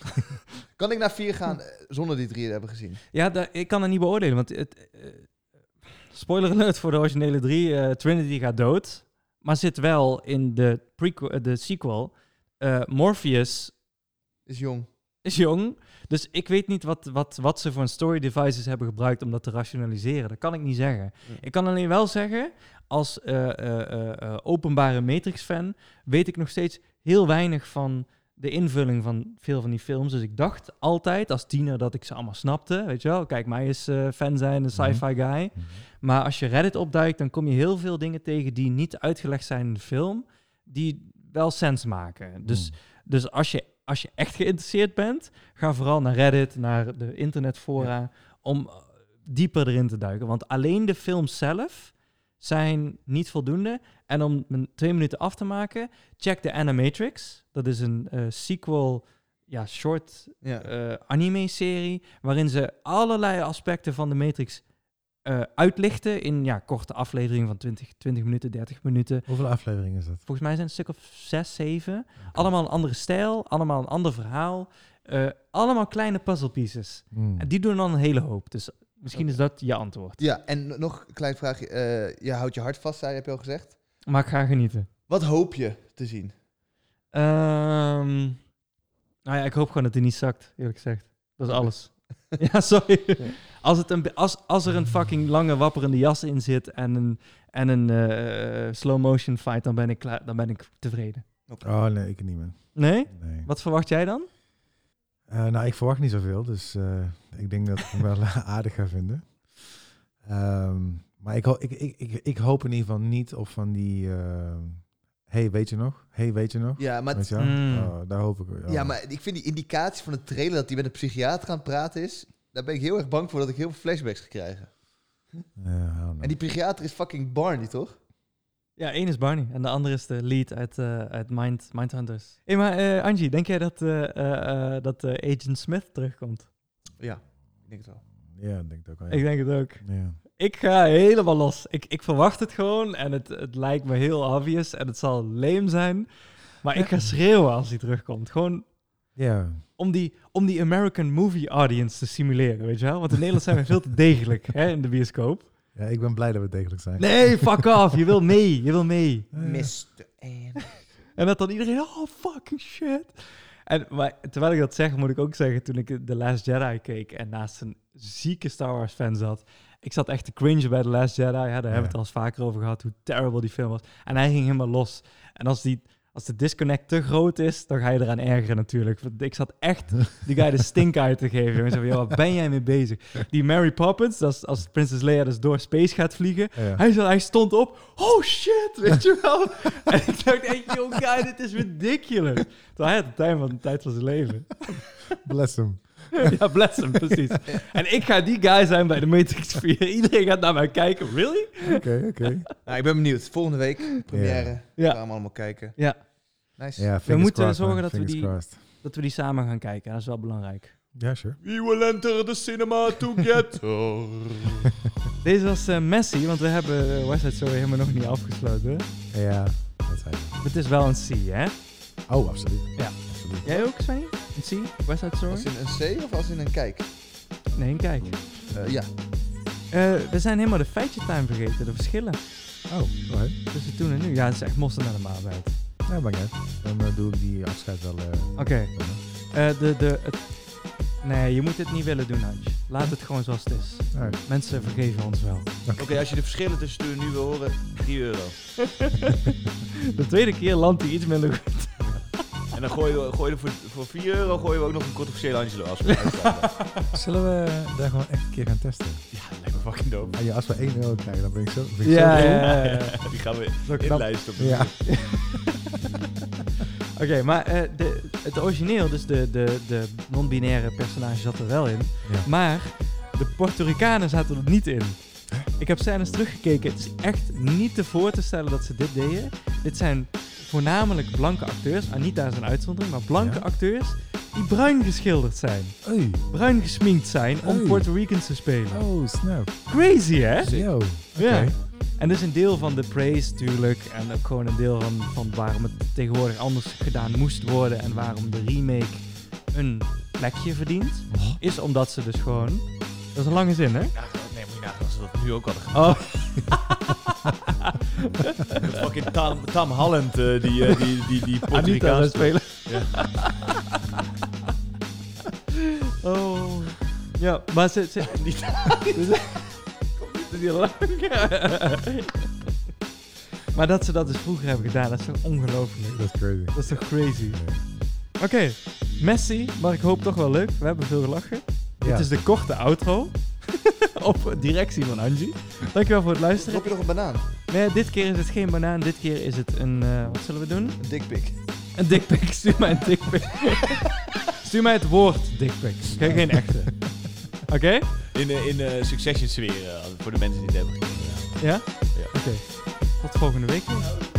Speaker 3: Kan ik naar 4 gaan eh, zonder die drie te hebben gezien?
Speaker 2: Ja, da- ik kan het niet beoordelen, want het, eh, spoiler alert voor de originele drie, eh, Trinity gaat dood, maar zit wel in de, prequel, eh, de sequel. Eh, Morpheus
Speaker 3: Is jong.
Speaker 2: is jong, dus ik weet niet wat, wat, wat ze voor een story devices hebben gebruikt om dat te rationaliseren. Dat kan ik niet zeggen.
Speaker 3: Ja.
Speaker 2: Ik kan alleen wel zeggen, als eh, eh, eh, eh, openbare Matrix-fan weet ik nog steeds heel weinig van de invulling van veel van die films. Dus ik dacht altijd als tiener dat ik ze allemaal snapte. Weet je wel, kijk, mij is eh, fan zijn, een sci-fi guy. Maar als je Reddit opduikt, dan kom je heel veel dingen tegen die niet uitgelegd zijn in de film, die wel sens maken. Dus
Speaker 1: Mhm. Mm.
Speaker 2: dus als je, als je echt geïnteresseerd bent, ga vooral naar Reddit, naar de internetfora, om eh, dieper erin te duiken. Want alleen de films zelf zijn niet voldoende. En om mijn twee minuten af te maken, check de Animatrix. Dat is een eh, sequel, ja, short
Speaker 3: Ja.
Speaker 2: eh, anime-serie, waarin ze allerlei aspecten van de Matrix eh, uitlichten in ja, korte afleveringen van 20, 20 minuten, 30 minuten.
Speaker 1: Hoeveel afleveringen is dat?
Speaker 2: Volgens mij zijn het een stuk of zes, zeven. Allemaal een andere stijl, allemaal een ander verhaal. eh, allemaal kleine puzzlepieces.
Speaker 1: Mm.
Speaker 2: En die doen dan een hele hoop. Dus misschien is dat je antwoord.
Speaker 3: ja, en no- nog een klein vraagje. eh, je houdt je hart vast, zei je, heb je al gezegd.
Speaker 2: Maar ik ga genieten.
Speaker 3: Wat hoop je te zien?
Speaker 2: Ehm, nou ja, ik hoop gewoon dat hij niet zakt, eerlijk gezegd. Dat is alles. ja, sorry.
Speaker 3: Ja.
Speaker 2: Als, het een, be- als, als er een fucking lange wapperende jas in zit en een, en een eh, slow motion fight, dan ben ik, klaar, dan ben ik tevreden.
Speaker 1: Oh nee, ik niet meer.
Speaker 2: Nee?
Speaker 1: Nee.
Speaker 2: Wat verwacht jij dan?
Speaker 1: Eh, nou, ik verwacht niet zoveel, dus eh, ik denk dat ik hem wel aardig ga vinden. Ehm, maar ik, ho- ik, ik, ik, ik hoop in ieder geval niet op van die... eh, hey, weet je nog? hey, weet je nog?
Speaker 3: Ja, maar,
Speaker 1: Weet je wel?
Speaker 2: Mm.
Speaker 1: Oh, daar hoop ik wel.
Speaker 3: ja, maar ik vind die indicatie van de trailer dat hij met een psychiater gaat praten is... Daar ben ik heel erg bang voor dat ik heel veel flashbacks ga krijgen.
Speaker 1: Ja, I don't know.
Speaker 3: En die psychiater is fucking Barney, toch?
Speaker 2: Ja, één is Barney en de andere is de lead uit, eh, uit Mind, Mindhunters. Hé, maar eh, Angie, denk jij dat, eh, eh, eh, dat eh, Agent Smith terugkomt?
Speaker 3: Ja, ik denk het wel.
Speaker 1: Ja, ik denk het ook wel. ja.
Speaker 2: Ik denk het ook.
Speaker 1: Ja.
Speaker 2: Ik ga helemaal los. Ik, ik verwacht het gewoon en het, het lijkt me heel obvious en het zal lame zijn. Maar ik ga schreeuwen als hij terugkomt. Gewoon
Speaker 1: Ja.
Speaker 2: om die, om die American movie audience te simuleren, weet je wel? Want in Nederland zijn we veel te degelijk hè, in de bioscoop.
Speaker 1: ja, ik ben blij dat we degelijk zijn.
Speaker 2: Nee, fuck off. Je wil mee. Je wil mee.
Speaker 1: Eh,
Speaker 3: Mr. N.
Speaker 2: En dat dan iedereen, oh fucking shit. En, maar terwijl ik dat zeg, moet ik ook zeggen, toen ik The Last Jedi keek en naast een zieke Star Wars fan zat, ik zat echt te cringe bij The Last Jedi. Ja, daar hebben we het
Speaker 1: Ja.
Speaker 2: al eens vaker over gehad, hoe terrible die film was. En hij ging helemaal los. En als, die, als de disconnect te groot is, dan ga je eraan ergeren natuurlijk. Want ik zat echt die guy de stink uit te geven. jongens. Zo van, joh, waar ben jij mee bezig? Die Mary Poppins, dat is, als Princess Leia dus door space gaat vliegen,
Speaker 1: ja.
Speaker 2: hij, zat- hij stond op. Oh shit, weet je wel. en ik dacht echt, joh, guy, dit is ridiculous. Terwijl hij had de tijd van, de tijd van zijn leven.
Speaker 1: Bless hem.
Speaker 2: ja, bless hem, precies. En ik ga die guy zijn bij de Matrix 4. Iedereen gaat naar mij kijken. Really?
Speaker 1: Oké, oké.
Speaker 3: Nou, ik ben benieuwd. Volgende week, première.
Speaker 2: Ja.
Speaker 3: Gaan we allemaal kijken.
Speaker 2: Ja,
Speaker 3: Nice.
Speaker 1: Ja, fingers
Speaker 2: moeten
Speaker 1: crossed,
Speaker 2: zorgen
Speaker 1: man.
Speaker 2: dat we
Speaker 1: Fingers
Speaker 2: die-
Speaker 1: crossed.
Speaker 2: dat we die samen gaan kijken. Dat is wel belangrijk.
Speaker 1: Ja, sure.
Speaker 3: We will enter the cinema together.
Speaker 2: Deze was eh, Messi, want we hebben eh, West Side Story helemaal nog niet afgesloten.
Speaker 1: Ja, dat zijn we.
Speaker 2: Het is wel een C, hè?
Speaker 1: Oh, absoluut.
Speaker 2: Ja.
Speaker 1: Absoluut.
Speaker 2: Jij ook, Svenny? Een C? West Side Story?
Speaker 3: als in een C of als in een kijk?
Speaker 2: Nee, kijk.
Speaker 3: Eh, ja.
Speaker 2: Eh, we zijn helemaal de feitje time vergeten, de verschillen
Speaker 1: Oh, alright.
Speaker 2: tussen toen en nu. Ja, het is echt mossen naar de maaltijd.
Speaker 1: Ja, maakt niet uit. Dan eh, doe ik die afscheid wel. eh,
Speaker 2: Oké,
Speaker 1: wel.
Speaker 2: eh, de, de, het... nee, je moet dit niet willen doen, Hans. Laat het gewoon zoals het is.
Speaker 1: Alright.
Speaker 2: Mensen vergeven ons wel.
Speaker 4: Oké, als je de verschillen tussen toen en nu wil horen, 3 euro.
Speaker 2: De tweede keer landt hij iets minder goed.
Speaker 4: En dan gooi je, gooi je voor, voor 4 euro gooi je ook nog een controversiële Angelo als we uitstappen.
Speaker 1: Zullen we daar gewoon echt een keer gaan testen?
Speaker 4: Ja, dat lijkt me fucking dope.
Speaker 1: Ah, ja, als we 1 euro krijgen, dan ben ik zo. ben ik zo
Speaker 2: Ja,
Speaker 1: cool.
Speaker 2: ja, ja. ja.
Speaker 4: Die gaan we
Speaker 2: Zo knap.
Speaker 4: inlijsten. op de-
Speaker 1: Ja.
Speaker 2: Oké, maar eh, de, het origineel, dus de, de, de non-binaire personage zat er wel in.
Speaker 1: Ja.
Speaker 2: Maar de Puerto Ricanen zaten er niet in. Ik heb scènes teruggekeken. Het is echt niet te voor te stellen dat ze dit deden. Dit zijn voornamelijk blanke acteurs. Anita is een uitzondering, maar
Speaker 1: Ja.
Speaker 2: blanke acteurs die bruin geschilderd zijn.
Speaker 1: Oei.
Speaker 2: Bruin gesminkt zijn om
Speaker 1: Hey.
Speaker 2: Puerto Ricans te spelen.
Speaker 1: Oh, snap.
Speaker 2: Crazy, hè?
Speaker 1: Yo. Oké.
Speaker 2: Ja. Dus- En dus een deel van de praise natuurlijk. En ook gewoon een deel van, van waarom het tegenwoordig anders gedaan moest worden. En waarom de remake een plekje verdient. Is omdat ze dus gewoon... Dat is een lange zin, hè?
Speaker 4: Ja, nee, moet je nagaan als ze dat nu ook hadden gedaan.
Speaker 2: Oh,
Speaker 4: Dat fucking Tam, Tam Holland, eh, die, eh, die, die, die, die Puerto
Speaker 2: Anita zou
Speaker 4: Ricaanse-
Speaker 2: spelen. oh. Ja, maar ze... ze
Speaker 4: Niet-
Speaker 2: die lange. maar dat ze dat dus vroeger hebben gedaan, dat is toch ongelooflijk.
Speaker 1: Dat is crazy.
Speaker 2: Dat is toch crazy.
Speaker 1: Ja.
Speaker 2: Oké, Messi, maar ik hoop toch wel leuk. We hebben veel gelachen.
Speaker 1: Ja.
Speaker 2: Dit is de korte outro. Op directie van Angie. Dankjewel voor het luisteren.
Speaker 3: Drop je nog een banaan?
Speaker 2: Nee, dit keer is het geen banaan. Dit keer is het een... eh, wat zullen we doen?
Speaker 3: Een dikpik.
Speaker 2: Een dikpik. Stuur mij een dikpik. Stuur mij het woord dikpik. Geen, geen echte. Oké?
Speaker 4: In, eh, in eh, Succession sfeer, eh, voor de mensen die het hebben gezien.
Speaker 2: Ja?
Speaker 4: Ja.
Speaker 2: Oké. Tot volgende week. weer.